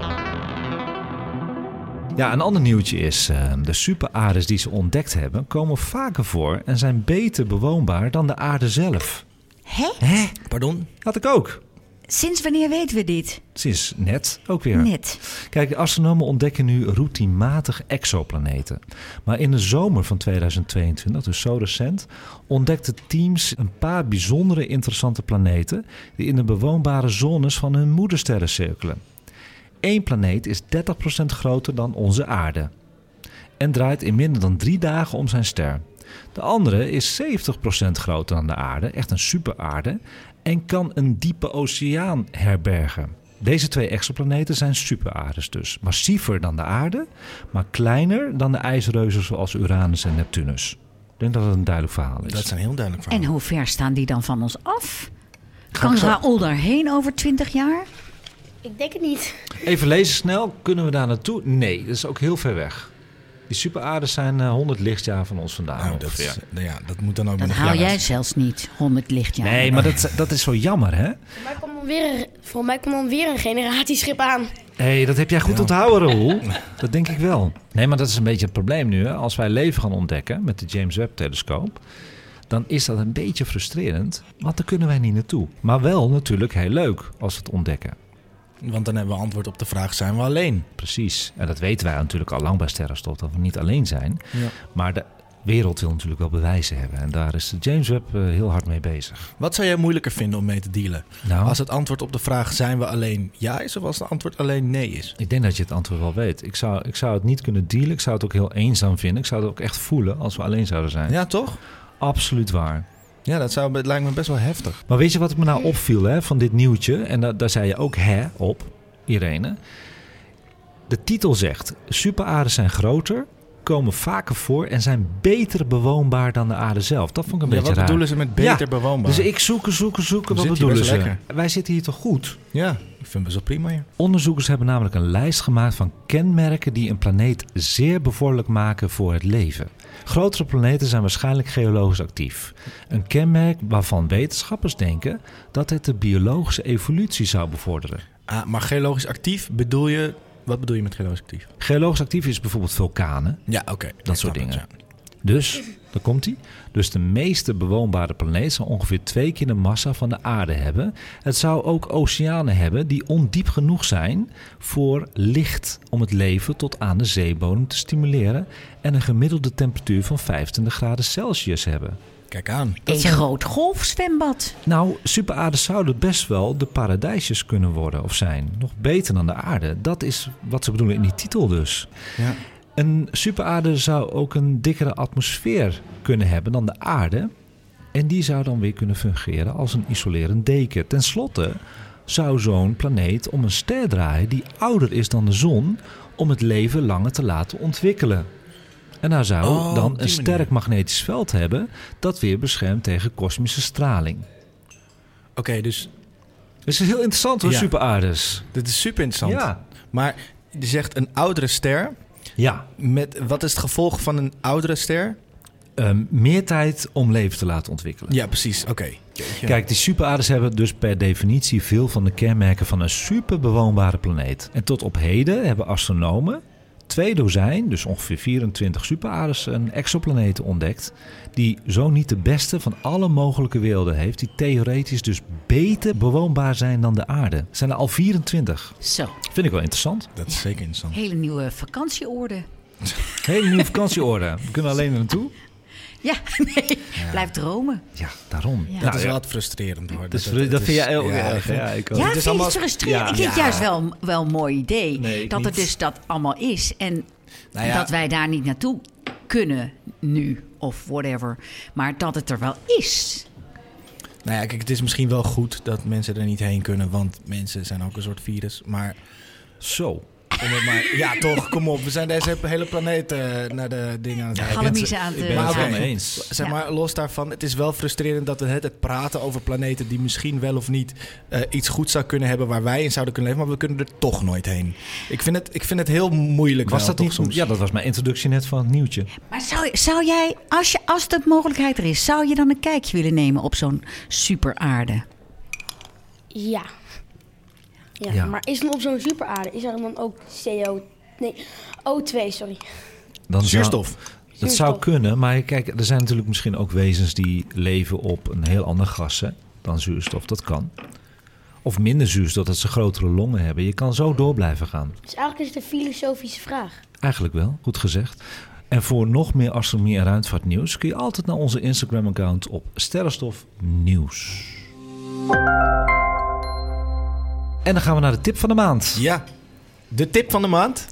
[SPEAKER 3] Ja, een ander nieuwtje is, eh, de superaardes die ze ontdekt hebben... komen vaker voor en zijn beter bewoonbaar dan de aarde zelf.
[SPEAKER 6] Hè?
[SPEAKER 3] Hè?
[SPEAKER 5] Pardon?
[SPEAKER 3] Had ik ook.
[SPEAKER 6] Sinds wanneer weten we dit?
[SPEAKER 3] Sinds net ook weer.
[SPEAKER 6] Net.
[SPEAKER 3] Kijk, astronomen ontdekken nu routinematig exoplaneten. Maar in de zomer van 2022, dus zo recent, ontdekten teams een paar bijzondere interessante planeten die in de bewoonbare zones van hun moedersterren cirkelen. Eén planeet is 30% groter dan onze aarde en draait in minder dan drie dagen om zijn ster. De andere is 70% groter dan de aarde, echt een superaarde, en kan een diepe oceaan herbergen. Deze twee exoplaneten zijn superaardes dus. Massiever dan de aarde, maar kleiner dan de ijsreuzen zoals Uranus en Neptunus. Ik denk dat het een duidelijk verhaal is.
[SPEAKER 5] Dat zijn heel duidelijk
[SPEAKER 6] En
[SPEAKER 5] verhalen.
[SPEAKER 6] hoe ver staan die dan van ons af?
[SPEAKER 3] ik
[SPEAKER 6] Kan
[SPEAKER 3] zo-
[SPEAKER 6] Raoul daarheen over 20 jaar?
[SPEAKER 7] Ik denk het niet.
[SPEAKER 3] Even lezen snel, kunnen we daar naartoe? Nee, dat is ook heel ver weg. Die superaardes zijn eh, 100 lichtjaar van ons vandaan
[SPEAKER 5] Nou, dat,
[SPEAKER 3] ongeveer.
[SPEAKER 5] is- nou ja, dat moet dan ook
[SPEAKER 6] Dat
[SPEAKER 5] nog
[SPEAKER 6] haal
[SPEAKER 5] jaren-
[SPEAKER 6] jij zelfs niet, 100 lichtjaar.
[SPEAKER 3] Nee, maar dat, dat is zo jammer, hè?
[SPEAKER 7] Voor mij komt dan weer, voor mij komt dan weer een generatieschip aan.
[SPEAKER 3] Hé, hey, dat heb jij goed onthouden, Roel. Dat denk ik wel. Nee, maar dat is een beetje het probleem nu. Hè. Als wij leven gaan ontdekken met de James Webb-telescoop... dan is dat een beetje frustrerend, want daar kunnen wij niet naartoe. Maar wel natuurlijk heel leuk als we het ontdekken.
[SPEAKER 5] Want dan hebben we antwoord op de vraag, zijn we alleen?
[SPEAKER 3] Precies. En dat weten wij natuurlijk al lang bij Sterrenstof, dat we niet alleen zijn.
[SPEAKER 5] Ja.
[SPEAKER 3] Maar de wereld wil natuurlijk wel bewijzen hebben. En daar is de James Webb eh, heel hard mee bezig.
[SPEAKER 5] Wat zou jij moeilijker vinden om mee te dealen?
[SPEAKER 3] Nou,
[SPEAKER 5] Als het antwoord op de vraag, zijn we alleen ja is... of als het antwoord alleen nee is?
[SPEAKER 3] Ik denk dat je het antwoord wel weet. Ik zou, ik zou het niet kunnen dealen. Ik zou het ook heel eenzaam vinden. Ik zou het ook echt voelen als we alleen zouden zijn.
[SPEAKER 5] Ja, toch?
[SPEAKER 3] Absoluut waar.
[SPEAKER 5] Ja, dat, zou, dat lijkt me best wel heftig.
[SPEAKER 3] Maar weet je wat me nou opviel hè, van dit nieuwtje? En da- daar zei je ook hè op, Irene. De titel zegt: superaardes zijn groter, komen vaker voor en zijn beter bewoonbaar dan de aarde zelf. Dat vond ik een
[SPEAKER 5] Ja,
[SPEAKER 3] beetje
[SPEAKER 5] wat
[SPEAKER 3] raar.
[SPEAKER 5] bedoelen ze met beter
[SPEAKER 3] Ja,
[SPEAKER 5] bewoonbaar?
[SPEAKER 3] Dus ik zoeken, zoeken, zoeken.
[SPEAKER 5] We
[SPEAKER 3] Wat
[SPEAKER 5] zitten hier
[SPEAKER 3] bedoelen ze?
[SPEAKER 5] best lekker.
[SPEAKER 3] Wij zitten hier toch goed?
[SPEAKER 5] Ja, ik vind het best wel prima, ja.
[SPEAKER 3] Onderzoekers hebben namelijk een lijst gemaakt van kenmerken die een planeet zeer bevorderlijk maken voor het leven. Grotere planeten zijn waarschijnlijk geologisch actief. Een kenmerk waarvan wetenschappers denken dat het de biologische evolutie zou bevorderen.
[SPEAKER 5] Ah, maar geologisch actief bedoel je... Wat bedoel je met geologisch actief?
[SPEAKER 3] Geologisch actief is bijvoorbeeld vulkanen.
[SPEAKER 5] Ja, oké.
[SPEAKER 3] Dat soort dingen. Dus, daar komt hij. Dus de meeste bewoonbare planeet zou ongeveer twee keer de massa van de aarde hebben. Het zou ook oceanen hebben die ondiep genoeg zijn voor licht om het leven tot aan de zeebodem te stimuleren. En een gemiddelde temperatuur van 25 graden Celsius hebben.
[SPEAKER 5] Kijk aan.
[SPEAKER 6] Een groot golfzwembad.
[SPEAKER 3] Nou, superaardes zouden best wel de paradijsjes kunnen worden of zijn. Nog beter dan de aarde. Dat is wat ze bedoelen in die titel dus.
[SPEAKER 5] Ja.
[SPEAKER 3] Een superaarde zou ook een dikkere atmosfeer kunnen hebben dan de aarde. En die zou dan weer kunnen fungeren als een isolerend deken. Ten slotte zou zo'n planeet om een ster draaien die ouder is dan de zon... om het leven langer te laten ontwikkelen. En nou zou
[SPEAKER 5] Oh, op
[SPEAKER 3] dan
[SPEAKER 5] die
[SPEAKER 3] een sterk
[SPEAKER 5] manier.
[SPEAKER 3] magnetisch veld hebben... dat weer beschermt tegen kosmische straling.
[SPEAKER 5] Oké, dus
[SPEAKER 3] Dus het is heel interessant hoor,
[SPEAKER 5] Ja.
[SPEAKER 3] superaardes.
[SPEAKER 5] dit is super interessant.
[SPEAKER 3] Ja.
[SPEAKER 5] Maar je zegt een oudere ster.
[SPEAKER 3] Ja,
[SPEAKER 5] Met, wat is het gevolg van een oudere ster?
[SPEAKER 3] ehm, meer tijd om leven te laten ontwikkelen.
[SPEAKER 5] Ja, precies. Oké.
[SPEAKER 3] Kijk, die superaardes hebben dus per definitie veel van de kenmerken van een superbewoonbare planeet. En tot op heden hebben astronomen twee dozijn, dus ongeveer 24 superaardes, en exoplaneten ontdekt. Die zo niet de beste van alle mogelijke werelden heeft, die theoretisch dus beter bewoonbaar zijn dan de aarde. Zijn er al 24.
[SPEAKER 6] Zo,
[SPEAKER 3] Vind ik wel interessant.
[SPEAKER 5] dat is zeker interessant.
[SPEAKER 6] hele nieuwe vakantieorde.
[SPEAKER 3] Hele nieuwe vakantieorde. We kunnen alleen er naartoe.
[SPEAKER 6] Ja, nee, blijf dromen.
[SPEAKER 3] Ja, daarom.
[SPEAKER 6] Ja.
[SPEAKER 5] Dat
[SPEAKER 3] Nou,
[SPEAKER 5] is
[SPEAKER 3] ja.
[SPEAKER 5] wel wat frustrerend hoor.
[SPEAKER 3] Dus
[SPEAKER 5] het-
[SPEAKER 3] dat,
[SPEAKER 5] het
[SPEAKER 3] vind
[SPEAKER 5] is-
[SPEAKER 3] jij ook
[SPEAKER 5] ja,
[SPEAKER 3] erg,
[SPEAKER 5] ik-
[SPEAKER 3] ja, ik ook. Het
[SPEAKER 6] Ja, vind
[SPEAKER 3] is
[SPEAKER 6] je
[SPEAKER 3] allemaal-
[SPEAKER 6] het frustrerend?
[SPEAKER 3] Ja.
[SPEAKER 6] ik vind het juist wel, wel een mooi idee.
[SPEAKER 3] Nee, ik
[SPEAKER 6] dat het
[SPEAKER 3] niet.
[SPEAKER 6] dus dat allemaal is. En
[SPEAKER 5] Nou ja.
[SPEAKER 6] dat wij daar niet naartoe kunnen nu of whatever. Maar dat het er wel is.
[SPEAKER 5] Nou ja, kijk, het is misschien wel goed dat mensen er niet heen kunnen, want mensen zijn ook een soort virus. Maar
[SPEAKER 3] Zo.
[SPEAKER 5] Om het maar- ja, toch, kom op. We zijn deze hele planeet eh, naar de dingen aan het rijden.
[SPEAKER 6] Galamiezen aan het,
[SPEAKER 3] Ik ben
[SPEAKER 6] eh,
[SPEAKER 3] het wel
[SPEAKER 6] ja.
[SPEAKER 3] mee eens.
[SPEAKER 5] Zeg
[SPEAKER 6] Ja.
[SPEAKER 5] maar, los daarvan, het is wel frustrerend dat we het, het praten over planeten die misschien wel of niet eh, iets goed zou kunnen hebben waar wij in zouden kunnen leven, maar we kunnen er toch nooit heen. Ik vind het, ik vind het heel moeilijk.
[SPEAKER 3] Was
[SPEAKER 5] wel,
[SPEAKER 3] dat
[SPEAKER 5] toch
[SPEAKER 3] niet
[SPEAKER 5] soms?
[SPEAKER 3] Ja, dat was mijn introductie net van het nieuwtje.
[SPEAKER 6] Maar zou, zou jij, als, je, als de mogelijkheid er is, zou je dan een kijkje willen nemen op zo'n superaarde?
[SPEAKER 7] Ja. ja.
[SPEAKER 3] Ja.
[SPEAKER 7] Maar is dan op zo'n superaarde, is er dan ook CO... Nee, O2, sorry.
[SPEAKER 3] Dan zou-
[SPEAKER 5] Zuurstof.
[SPEAKER 3] Dat zou
[SPEAKER 7] Zuurstof.
[SPEAKER 3] kunnen, maar kijk, er zijn natuurlijk misschien ook wezens die leven op een heel ander gas hè, dan zuurstof. Dat kan. Of minder zuurstof, dat ze grotere longen hebben. Je kan zo door blijven gaan.
[SPEAKER 7] Dus eigenlijk is het een filosofische vraag.
[SPEAKER 3] Eigenlijk wel, goed gezegd. En voor nog meer astronomie en ruimtevaartnieuws kun je altijd naar onze Instagram-account op Sterrenstof Nieuws. En dan gaan we naar de tip van de maand.
[SPEAKER 5] Ja, de tip van de maand.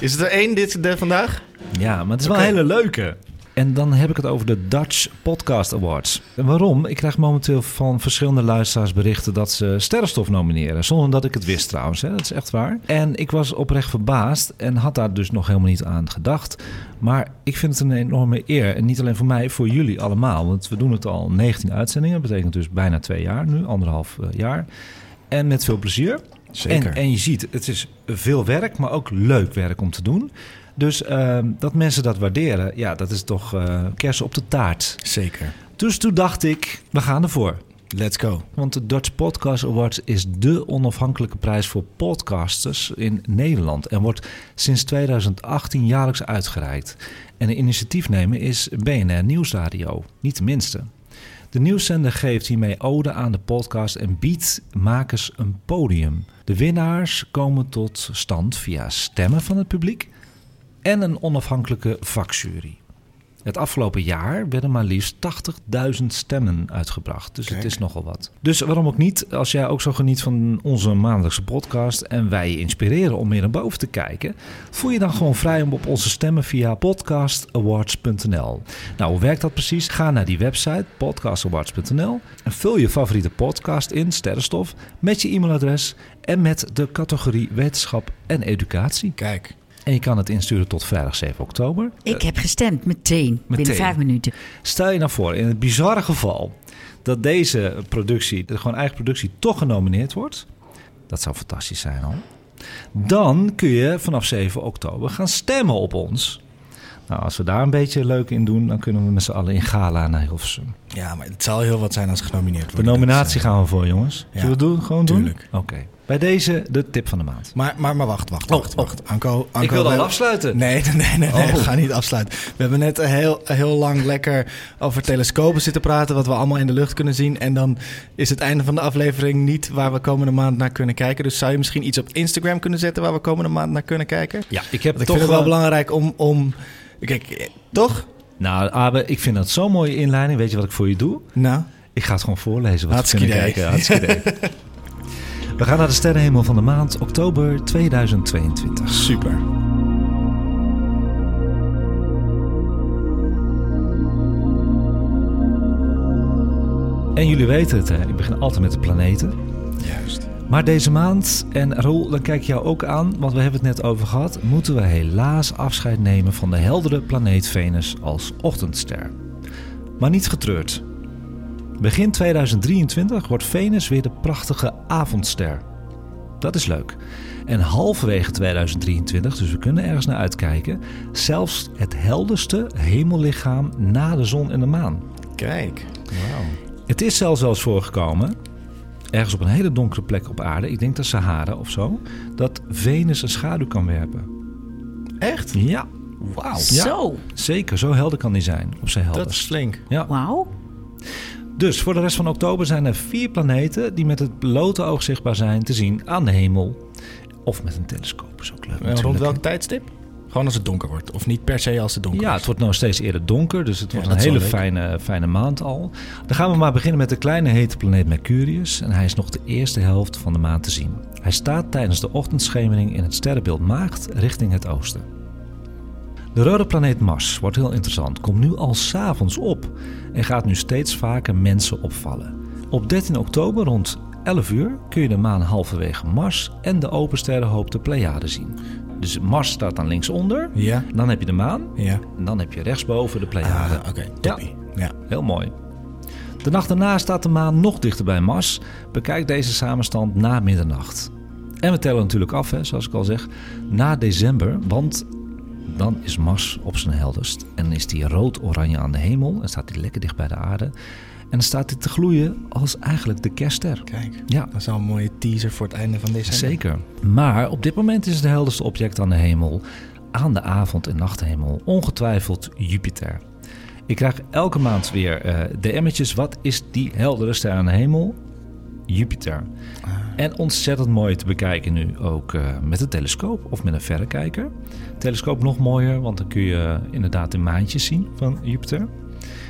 [SPEAKER 5] Is het er één dit, de, vandaag?
[SPEAKER 3] Ja, maar het is wel
[SPEAKER 5] Oké.
[SPEAKER 3] een hele leuke. En dan heb ik het over de Dutch Podcast Awards. En waarom? Ik krijg momenteel van verschillende luisteraars berichten dat ze sterrenstof nomineren. Zonder dat ik het wist trouwens, hè. dat is echt waar. En ik was oprecht verbaasd en had daar dus nog helemaal niet aan gedacht. Maar ik vind het een enorme eer. En niet alleen voor mij, voor jullie allemaal. Want we doen het al 19 uitzendingen. Dat betekent dus bijna twee jaar nu, anderhalf eh, jaar. En met veel plezier. En, en je ziet, het is veel werk, maar ook leuk werk om te doen. Dus ehm, dat mensen dat waarderen, ja, dat is toch eh kersen op de taart.
[SPEAKER 5] Zeker.
[SPEAKER 3] Dus toen dacht ik, we gaan ervoor.
[SPEAKER 5] Let's go.
[SPEAKER 3] Want de Dutch Podcast Awards is de onafhankelijke prijs voor podcasters in Nederland. En wordt sinds 2018 jaarlijks uitgereikt. En de initiatiefnemer is BNR Nieuwsradio, niet de minste. De nieuwszender geeft hiermee ode aan de podcast en biedt makers een podium. De winnaars komen tot stand via stemmen van het publiek en een onafhankelijke vakjury. Het afgelopen jaar werden maar liefst 80.000 stemmen uitgebracht. Dus het is nogal wat. Dus waarom ook niet, als jij ook zo geniet van onze maandelijkse podcast en wij je inspireren om meer naar boven te kijken, voel je dan gewoon vrij om op onze stemmen via podcastawards.nl. Nou, hoe werkt dat precies? Ga naar die website podcastawards.nl en vul je favoriete podcast in, sterrenstof, met je e-mailadres en met de categorie wetenschap en educatie.
[SPEAKER 5] Kijk.
[SPEAKER 3] En je kan het insturen tot vrijdag 7 oktober.
[SPEAKER 6] Ik heb gestemd, meteen, binnen
[SPEAKER 3] Eh, meteen.
[SPEAKER 6] vijf minuten.
[SPEAKER 3] Stel je nou voor, in het bizarre geval dat deze productie, de gewoon eigen productie, toch genomineerd wordt. Dat zou fantastisch zijn al. Dan kun je vanaf 7 oktober gaan stemmen op ons. Nou, als we daar een beetje leuk in doen, dan kunnen we met z'n allen in gala naar Hilversum.
[SPEAKER 5] Ja, maar het zal heel wat zijn als genomineerd
[SPEAKER 3] De
[SPEAKER 5] wordt.
[SPEAKER 3] nominatie gaan we voor, jongens. Zullen we het doen? Gewoon
[SPEAKER 5] tuurlijk.
[SPEAKER 3] doen? Oké. Bij deze de tip van de maand.
[SPEAKER 5] eh, Maar, maar, maar wacht, wacht, wacht, wacht. Anko, Anko,
[SPEAKER 3] Oh, Ik wil
[SPEAKER 5] we-
[SPEAKER 3] dan afsluiten.
[SPEAKER 5] Nee, nee, nee, nee, nee,
[SPEAKER 3] Oh.
[SPEAKER 5] ga niet afsluiten. We hebben net een heel, een heel lang lekker over telescopen zitten praten, wat we allemaal in de lucht kunnen zien. En dan is het einde van de aflevering niet waar we komende maand naar kunnen kijken. Dus zou je misschien iets op Instagram kunnen zetten waar we komende maand naar kunnen kijken?
[SPEAKER 3] Ja, ik heb
[SPEAKER 5] Want ik vind het wel belangrijk om, om... Kijk, eh, toch?
[SPEAKER 3] Nou, Abe, ik vind dat zo'n mooie inleiding. Weet je wat ik voor je doe?
[SPEAKER 5] Nou,
[SPEAKER 3] Ik ga het gewoon voorlezen wat
[SPEAKER 5] Hartstikke
[SPEAKER 3] we kunnen
[SPEAKER 5] idee.
[SPEAKER 3] kijken. Hartstikke idee. We gaan naar de sterrenhemel van de maand oktober 2022.
[SPEAKER 5] super.
[SPEAKER 3] En jullie weten het, hè? ik begin altijd met de planeten.
[SPEAKER 5] Juist.
[SPEAKER 3] Maar deze maand, en Roel, dan kijk ik jou ook aan, want we hebben het net over gehad, moeten we helaas afscheid nemen van de heldere planeet Venus als ochtendster. Maar niet getreurd. Begin 2023 wordt Venus weer de prachtige avondster. Dat is leuk. En halverwege 2023, dus we kunnen ergens naar uitkijken, zelfs het helderste hemellichaam na de zon en de maan.
[SPEAKER 5] Kijk.
[SPEAKER 3] Het is zelfs wel eens voorgekomen, ergens op een hele donkere plek op aarde, ik denk dat Sahara of zo, dat Venus een schaduw kan werpen.
[SPEAKER 5] Echt?
[SPEAKER 3] Ja. Wauw.
[SPEAKER 6] Zo,
[SPEAKER 3] Zeker, zo helder kan die zijn op zijn
[SPEAKER 5] Dat is
[SPEAKER 3] helder.
[SPEAKER 5] flink.
[SPEAKER 3] Ja.
[SPEAKER 6] wauw.
[SPEAKER 3] Dus voor de rest van oktober zijn er vier planeten die met het blote oog zichtbaar zijn te zien aan de hemel. Of met een telescoop is ook leuk.
[SPEAKER 5] En rond
[SPEAKER 3] natuurlijk,
[SPEAKER 5] welk
[SPEAKER 3] hè.
[SPEAKER 5] tijdstip? Gewoon als het donker wordt. Of niet per se als het donker
[SPEAKER 3] Ja,
[SPEAKER 5] wordt.
[SPEAKER 3] het wordt nou steeds eerder donker, dus het wordt
[SPEAKER 5] dat
[SPEAKER 3] een
[SPEAKER 5] is wel
[SPEAKER 3] hele
[SPEAKER 5] leuk.
[SPEAKER 3] fijne, fijne maand al. Dan gaan we maar beginnen met de kleine hete planeet Mercurius. En hij is nog de eerste helft van de maand te zien. Hij staat tijdens de ochtendschemering in het sterrenbeeld Maagd richting het oosten. De rode planeet Mars wordt heel interessant, komt nu al s'avonds op en gaat nu steeds vaker mensen opvallen. Op 13 oktober rond 11 uur kun je de maan halverwege Mars en de open sterrenhoop de Pleiade zien. Dus Mars staat dan linksonder.
[SPEAKER 5] Ja.
[SPEAKER 3] Dan heb je de maan.
[SPEAKER 5] Ja.
[SPEAKER 3] En dan heb je rechtsboven de Pleiade.
[SPEAKER 5] Ah, oké, toppie. Ja.
[SPEAKER 3] Heel mooi. De nacht daarna staat de maan nog dichter bij Mars. Bekijk deze samenstand na middernacht. En we tellen natuurlijk af, hè, zoals ik al zeg, na december. Want dan is Mars op zijn helderst. En is die rood-oranje aan de hemel. En staat die lekker dicht bij de aarde. En dan staat hij te gloeien als eigenlijk de kerstster.
[SPEAKER 5] Kijk,
[SPEAKER 3] Ja,
[SPEAKER 5] dat is al een mooie teaser voor het einde van deze.
[SPEAKER 3] Zeker. Maar op dit moment is het helderste object aan de hemel, aan de avond- en nachthemel, ongetwijfeld Jupiter. Ik krijg elke maand weer eh DM'tjes. Wat is die heldere ster aan de hemel? Jupiter.
[SPEAKER 6] Ah.
[SPEAKER 3] En ontzettend mooi te bekijken nu ook eh, met een telescoop of met een verrekijker. Telescoop nog mooier, want dan kun je inderdaad de maantjes zien van Jupiter.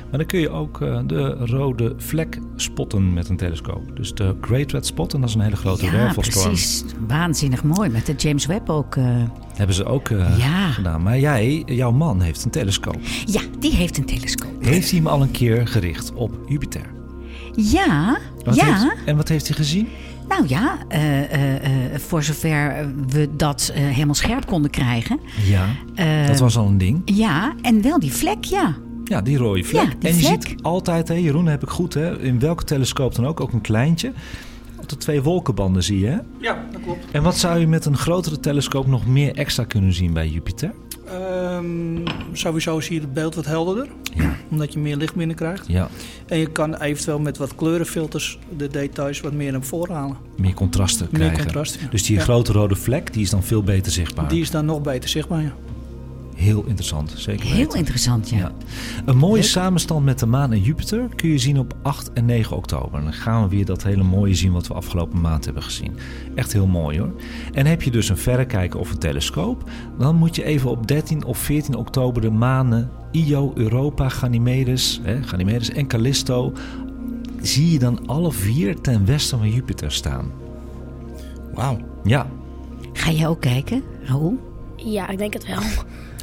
[SPEAKER 3] Maar dan kun je ook eh, de rode vlek spotten met een telescoop. Dus de Great Red Spot, en dat is een hele grote
[SPEAKER 6] Ja,
[SPEAKER 3] wervelstorm.
[SPEAKER 6] precies. Waanzinnig mooi. Met de James Webb ook. eh.
[SPEAKER 3] Hebben ze ook eh,
[SPEAKER 6] Ja.
[SPEAKER 3] gedaan. Maar jij, jouw man heeft een telescoop.
[SPEAKER 6] Ja, die heeft een telescoop.
[SPEAKER 3] Heeft hij hem al een keer gericht op Jupiter?
[SPEAKER 6] Ja,
[SPEAKER 3] Wat
[SPEAKER 6] ja.
[SPEAKER 3] heeft- en wat heeft hij gezien?
[SPEAKER 6] Nou ja, eh, eh, eh, voor zover we dat eh, helemaal scherp konden krijgen.
[SPEAKER 3] Ja,
[SPEAKER 6] Eh,
[SPEAKER 3] dat was al een ding.
[SPEAKER 6] Ja, en wel die vlek, ja.
[SPEAKER 3] Ja, die rode vlek.
[SPEAKER 6] Ja, die
[SPEAKER 3] en je
[SPEAKER 6] vlek.
[SPEAKER 3] ziet altijd, hè, Jeroen, heb ik goed, hè, in welke telescoop dan ook, ook een kleintje. Tot twee wolkenbanden zie je. Hè?
[SPEAKER 9] Ja, dat klopt.
[SPEAKER 3] En wat zou je met een grotere telescoop nog meer extra kunnen zien bij Jupiter?
[SPEAKER 9] Ehm, sowieso is hier het beeld wat helderder. Omdat je meer licht binnenkrijgt.
[SPEAKER 3] Ja,
[SPEAKER 9] En je kan eventueel met wat kleurenfilters de details wat meer naar voren halen.
[SPEAKER 3] meer contrasten
[SPEAKER 9] Meer
[SPEAKER 3] krijgen.
[SPEAKER 9] contrast, ja.
[SPEAKER 3] Dus die
[SPEAKER 9] Ja.
[SPEAKER 3] grote rode vlek, die is dan veel beter zichtbaar.
[SPEAKER 9] Die is dan nog beter zichtbaar, ja.
[SPEAKER 3] Heel interessant, zeker weten.
[SPEAKER 6] Heel interessant, ja.
[SPEAKER 3] Ja. Een mooie samenstand met de maan en Jupiter kun je zien op 8 en 9 oktober. Dan gaan we weer dat hele mooie zien wat we afgelopen maand hebben gezien. Echt heel mooi hoor. En heb je dus een verrekijker of een telescoop, dan moet je even op 13 of 14 oktober de manen Io, Europa, Ganymedes, hè, Ganymedes en Callisto. Zie je dan alle vier ten westen van Jupiter staan?
[SPEAKER 5] Wauw.
[SPEAKER 3] Ja.
[SPEAKER 6] Ga jij ook kijken, Raoul?
[SPEAKER 7] Ja, ik denk het wel.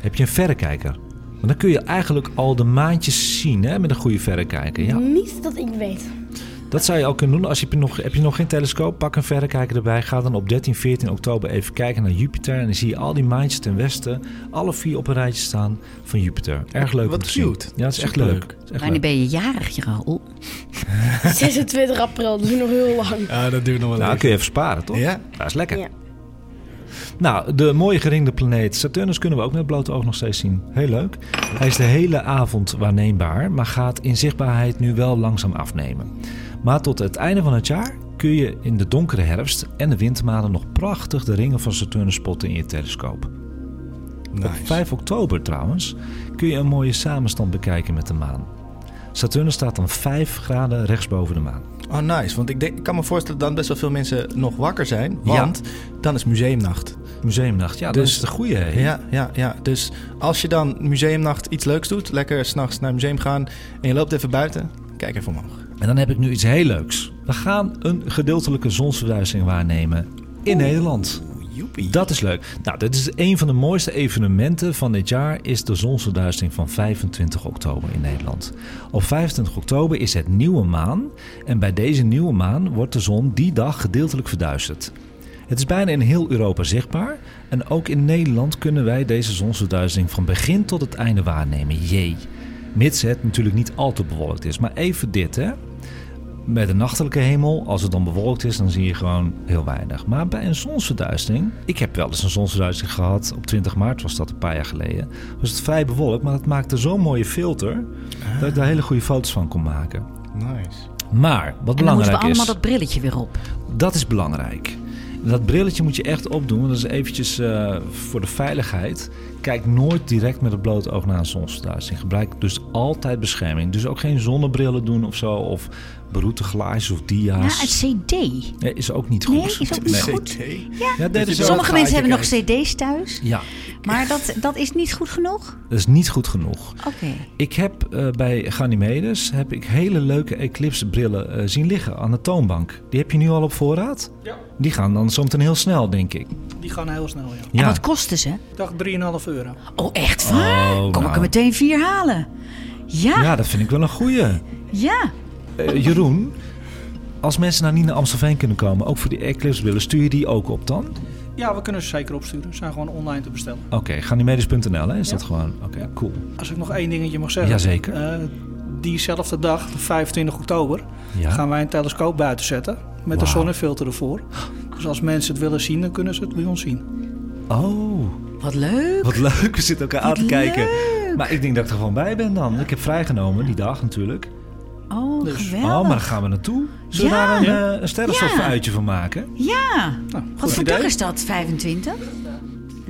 [SPEAKER 3] Heb je een verrekijker? Want dan kun je eigenlijk al de maandjes zien hè, met een goede verrekijker. Ja.
[SPEAKER 7] Niet dat ik weet.
[SPEAKER 3] Dat zou je al kunnen doen. Als je heb je nog, heb je nog geen telescoop, pak een verrekijker erbij. Ga dan op 13, 14 oktober even kijken naar Jupiter. En dan zie je al die maandjes ten westen, alle vier op een rijtje staan van Jupiter. Erg leuk om
[SPEAKER 5] Wat
[SPEAKER 3] te
[SPEAKER 5] cute.
[SPEAKER 3] zien. Ja, het is echt
[SPEAKER 5] Superleuk.
[SPEAKER 3] leuk. Het is echt
[SPEAKER 6] Wanneer
[SPEAKER 3] leuk.
[SPEAKER 6] ben je jarig, Raoul?
[SPEAKER 7] 26 april, dat is nog heel lang.
[SPEAKER 5] Ja, dat duurt nog wel
[SPEAKER 3] Nou,
[SPEAKER 5] even.
[SPEAKER 3] kun je even sparen, toch?
[SPEAKER 5] Ja.
[SPEAKER 3] Dat is lekker.
[SPEAKER 7] Ja.
[SPEAKER 3] Nou, de mooie geringde planeet Saturnus kunnen we ook met het blote oog nog steeds zien. Heel leuk. Hij is de hele avond waarneembaar, maar gaat in zichtbaarheid nu wel langzaam afnemen. Maar tot het einde van het jaar kun je in de donkere herfst en de wintermaanden nog prachtig de ringen van Saturnus spotten in je telescoop. Op
[SPEAKER 5] Nice.
[SPEAKER 3] 5 oktober trouwens kun je een mooie samenstand bekijken met de maan. Saturnus staat dan 5 graden rechtsboven de maan.
[SPEAKER 5] Oh, nice. Want ik, denk, ik kan me voorstellen dat dan best wel veel mensen nog wakker zijn.
[SPEAKER 3] Ja.
[SPEAKER 5] Want dan is museumnacht.
[SPEAKER 3] Museumnacht, ja, dat
[SPEAKER 5] Dus-
[SPEAKER 3] is de goede. hè?
[SPEAKER 5] Ja, ja, ja. Dus als je dan museumnacht iets leuks doet, lekker s'nachts naar het museum gaan en je loopt even buiten, kijk even omhoog.
[SPEAKER 3] En dan heb ik nu iets heel leuks. We gaan een gedeeltelijke zonsverduistering waarnemen in Nederland.
[SPEAKER 5] Joepie.
[SPEAKER 3] Dat is leuk. Nou, dit is een van de mooiste evenementen van dit jaar is de zonsverduistering van 25 oktober in Nederland. Op 25 oktober is het nieuwe maan en bij deze nieuwe maan wordt de zon die dag gedeeltelijk verduisterd. Het is bijna in heel Europa zichtbaar en ook in Nederland kunnen wij deze zonsverduistering van begin tot het einde waarnemen. Jee. Mits het natuurlijk niet al te bewolkt is, maar even dit hè. Bij de nachtelijke hemel, als het dan bewolkt is, dan zie je gewoon heel weinig. Maar bij een zonsverduistering, ik heb wel eens een zonsverduistering gehad, op 20 maart was dat een paar jaar geleden, was het vrij bewolkt, maar dat maakte zo'n mooie filter dat ik daar hele goede foto's van kon maken.
[SPEAKER 5] Nice.
[SPEAKER 3] Maar wat
[SPEAKER 6] En dan moeten
[SPEAKER 3] belangrijk
[SPEAKER 6] we allemaal
[SPEAKER 3] is,
[SPEAKER 6] dat brilletje weer op.
[SPEAKER 3] dat is belangrijk. Dat brilletje moet je echt opdoen, want dat is eventjes eh, voor de veiligheid. Kijk nooit direct met het blote oog naar een zonsverduistering. Gebruik dus altijd bescherming. Dus ook geen zonnebrillen doen of zo, of beroete glaasjes of dia's.
[SPEAKER 6] Ja, het CD.
[SPEAKER 3] Nee, is ook niet goed.
[SPEAKER 6] Nee, is ook niet goed. Ja.
[SPEAKER 3] Ja, dat is
[SPEAKER 6] Sommige
[SPEAKER 5] wel
[SPEAKER 6] mensen hebben nog
[SPEAKER 5] gaatje
[SPEAKER 6] CD's thuis,
[SPEAKER 3] Ja,
[SPEAKER 6] maar dat, dat is niet goed genoeg.
[SPEAKER 3] dat is niet goed genoeg.
[SPEAKER 6] Oké.
[SPEAKER 3] Ik heb eh, bij Ganymedes heb ik hele leuke eclipsebrillen eh, zien liggen aan de toonbank. Die heb je nu al op voorraad?
[SPEAKER 9] Ja.
[SPEAKER 3] Die gaan dan zometeen heel snel, denk ik.
[SPEAKER 9] Die gaan heel snel, ja.
[SPEAKER 6] En
[SPEAKER 3] Ja.
[SPEAKER 6] wat kosten ze?
[SPEAKER 9] Ik dacht 3,5 euro.
[SPEAKER 6] Oh, echt waar?
[SPEAKER 3] Oh,
[SPEAKER 6] Kom
[SPEAKER 3] nou.
[SPEAKER 6] ik er meteen vier halen? Ja, ja.
[SPEAKER 3] ja, dat vind ik wel een goeie. Eh, Jeroen, als mensen nou niet naar Amstelveen kunnen komen, ook voor die eclipsebrillen, stuur je die ook op dan?
[SPEAKER 9] Ja, we kunnen ze zeker opsturen. Ze zijn gewoon online te bestellen.
[SPEAKER 3] Oké, ganymedes.nl hè, is
[SPEAKER 9] Ja.
[SPEAKER 3] dat gewoon? Oké, cool.
[SPEAKER 9] Als ik nog één dingetje mag zeggen.
[SPEAKER 3] Jazeker.
[SPEAKER 9] Eh, diezelfde dag, 25 oktober,
[SPEAKER 3] Ja.
[SPEAKER 9] gaan wij een telescoop buiten zetten. Met een
[SPEAKER 3] Wauw.
[SPEAKER 9] zonnefilter ervoor. Dus als mensen het willen zien, dan kunnen ze het bij ons zien.
[SPEAKER 3] Oh,
[SPEAKER 6] Wat leuk.
[SPEAKER 3] wat leuk. We zitten elkaar aan te
[SPEAKER 6] Wat
[SPEAKER 3] kijken.
[SPEAKER 6] leuk.
[SPEAKER 3] Maar ik denk dat ik er gewoon bij ben dan. Ik heb vrijgenomen die dag natuurlijk.
[SPEAKER 6] Oh, geweldig.
[SPEAKER 3] Oh, maar dan gaan we naartoe. Zullen we
[SPEAKER 6] Ja.
[SPEAKER 3] daar een, eh, een sterrenstofuitje
[SPEAKER 6] Ja.
[SPEAKER 3] van maken?
[SPEAKER 6] Ja.
[SPEAKER 9] Nou,
[SPEAKER 6] Wat voor
[SPEAKER 3] idee.
[SPEAKER 6] dag is dat? 25?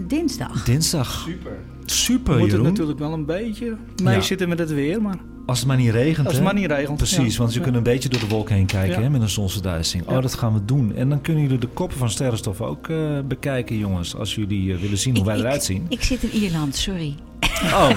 [SPEAKER 6] Dinsdag.
[SPEAKER 3] Dinsdag. Super. Super,
[SPEAKER 9] Moet het
[SPEAKER 3] Jeroen.
[SPEAKER 9] natuurlijk wel een beetje mee
[SPEAKER 3] Ja.
[SPEAKER 9] zitten met het weer, maar...
[SPEAKER 3] Als het maar niet regent.
[SPEAKER 9] Als het
[SPEAKER 3] hè?
[SPEAKER 9] maar niet regent,
[SPEAKER 3] Precies,
[SPEAKER 9] ja.
[SPEAKER 3] want je
[SPEAKER 9] Ja.
[SPEAKER 3] kunt een beetje door de wolk heen kijken
[SPEAKER 9] Ja.
[SPEAKER 3] hè, met een zonsverduistering.
[SPEAKER 9] Ja.
[SPEAKER 3] Oh, dat gaan we doen. En dan kunnen jullie de koppen van sterrenstof ook eh, bekijken, jongens. Als jullie eh, willen zien hoe wij eruit zien.
[SPEAKER 6] Ik zit in Ierland, sorry.
[SPEAKER 3] Oh,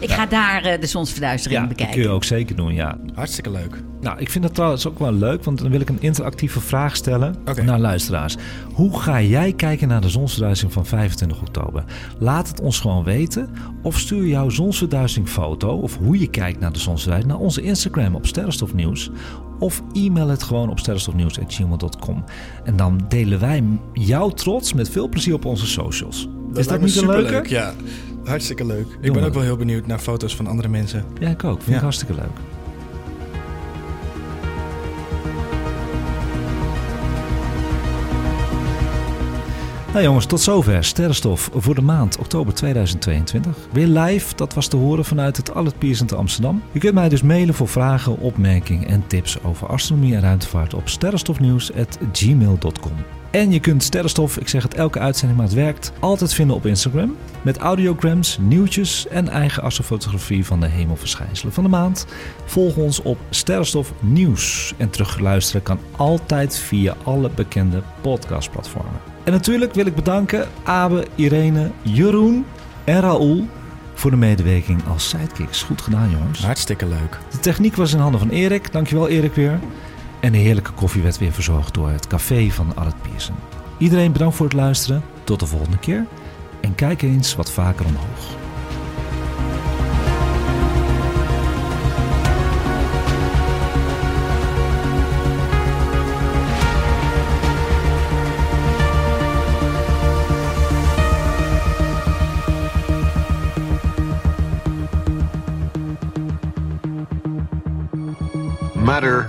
[SPEAKER 6] Ik ga daar eh, de zonsverduistering
[SPEAKER 3] ja, eh, dat
[SPEAKER 6] bekijken.
[SPEAKER 3] kun je ook zeker doen, ja.
[SPEAKER 5] Hartstikke leuk.
[SPEAKER 3] Nou, ik vind dat trouwens ook wel leuk, want dan wil ik een interactieve vraag stellen
[SPEAKER 5] Oké.
[SPEAKER 3] naar luisteraars. Hoe ga jij kijken naar de zonsverduistering van 25 oktober? Laat het ons gewoon weten. Of stuur jouw zonsverduisteringfoto of hoe je kijkt naar de zonsverduistering naar onze Instagram op Sterrenstofnieuws. Of e-mail het gewoon op sterrenstofnieuws.gmail.com. En dan delen wij jouw trots met veel plezier op onze socials. Is dat
[SPEAKER 5] lijkt me
[SPEAKER 3] niet een
[SPEAKER 5] superleuk,
[SPEAKER 3] leuke?
[SPEAKER 5] Ja, hartstikke leuk. Ik
[SPEAKER 3] Doen
[SPEAKER 5] ben
[SPEAKER 3] we.
[SPEAKER 5] ook wel heel benieuwd naar foto's van andere mensen.
[SPEAKER 3] Ja, ik ook. Vind ik
[SPEAKER 5] Ja.
[SPEAKER 3] hartstikke leuk. Nou jongens, tot zover Sterrenstof voor de maand oktober 2022. Weer live, dat was te horen vanuit het Allert Piers in te Amsterdam. Je kunt mij dus mailen voor vragen, opmerkingen en tips over astronomie en ruimtevaart op sterrenstofnieuws.gmail.com. En je kunt Sterrenstof, ik zeg het elke uitzending maar het werkt, altijd vinden op Instagram. Met audiograms, nieuwtjes en eigen astrofotografie van de hemelverschijnselen van de maand. Volg ons op Sterrenstof Nieuws. En terugluisteren kan altijd via alle bekende podcastplatformen. En natuurlijk wil ik bedanken Abe, Irene, Jeroen en Raoul voor de medewerking als sidekicks. Goed gedaan jongens.
[SPEAKER 5] Hartstikke leuk.
[SPEAKER 3] De techniek was in handen van Erik. Dankjewel Erik weer. En de heerlijke koffie werd weer verzorgd door het café van Arlet Pierson. Iedereen bedankt voor het luisteren. Tot de volgende keer. En kijk eens wat vaker omhoog.
[SPEAKER 11] Matter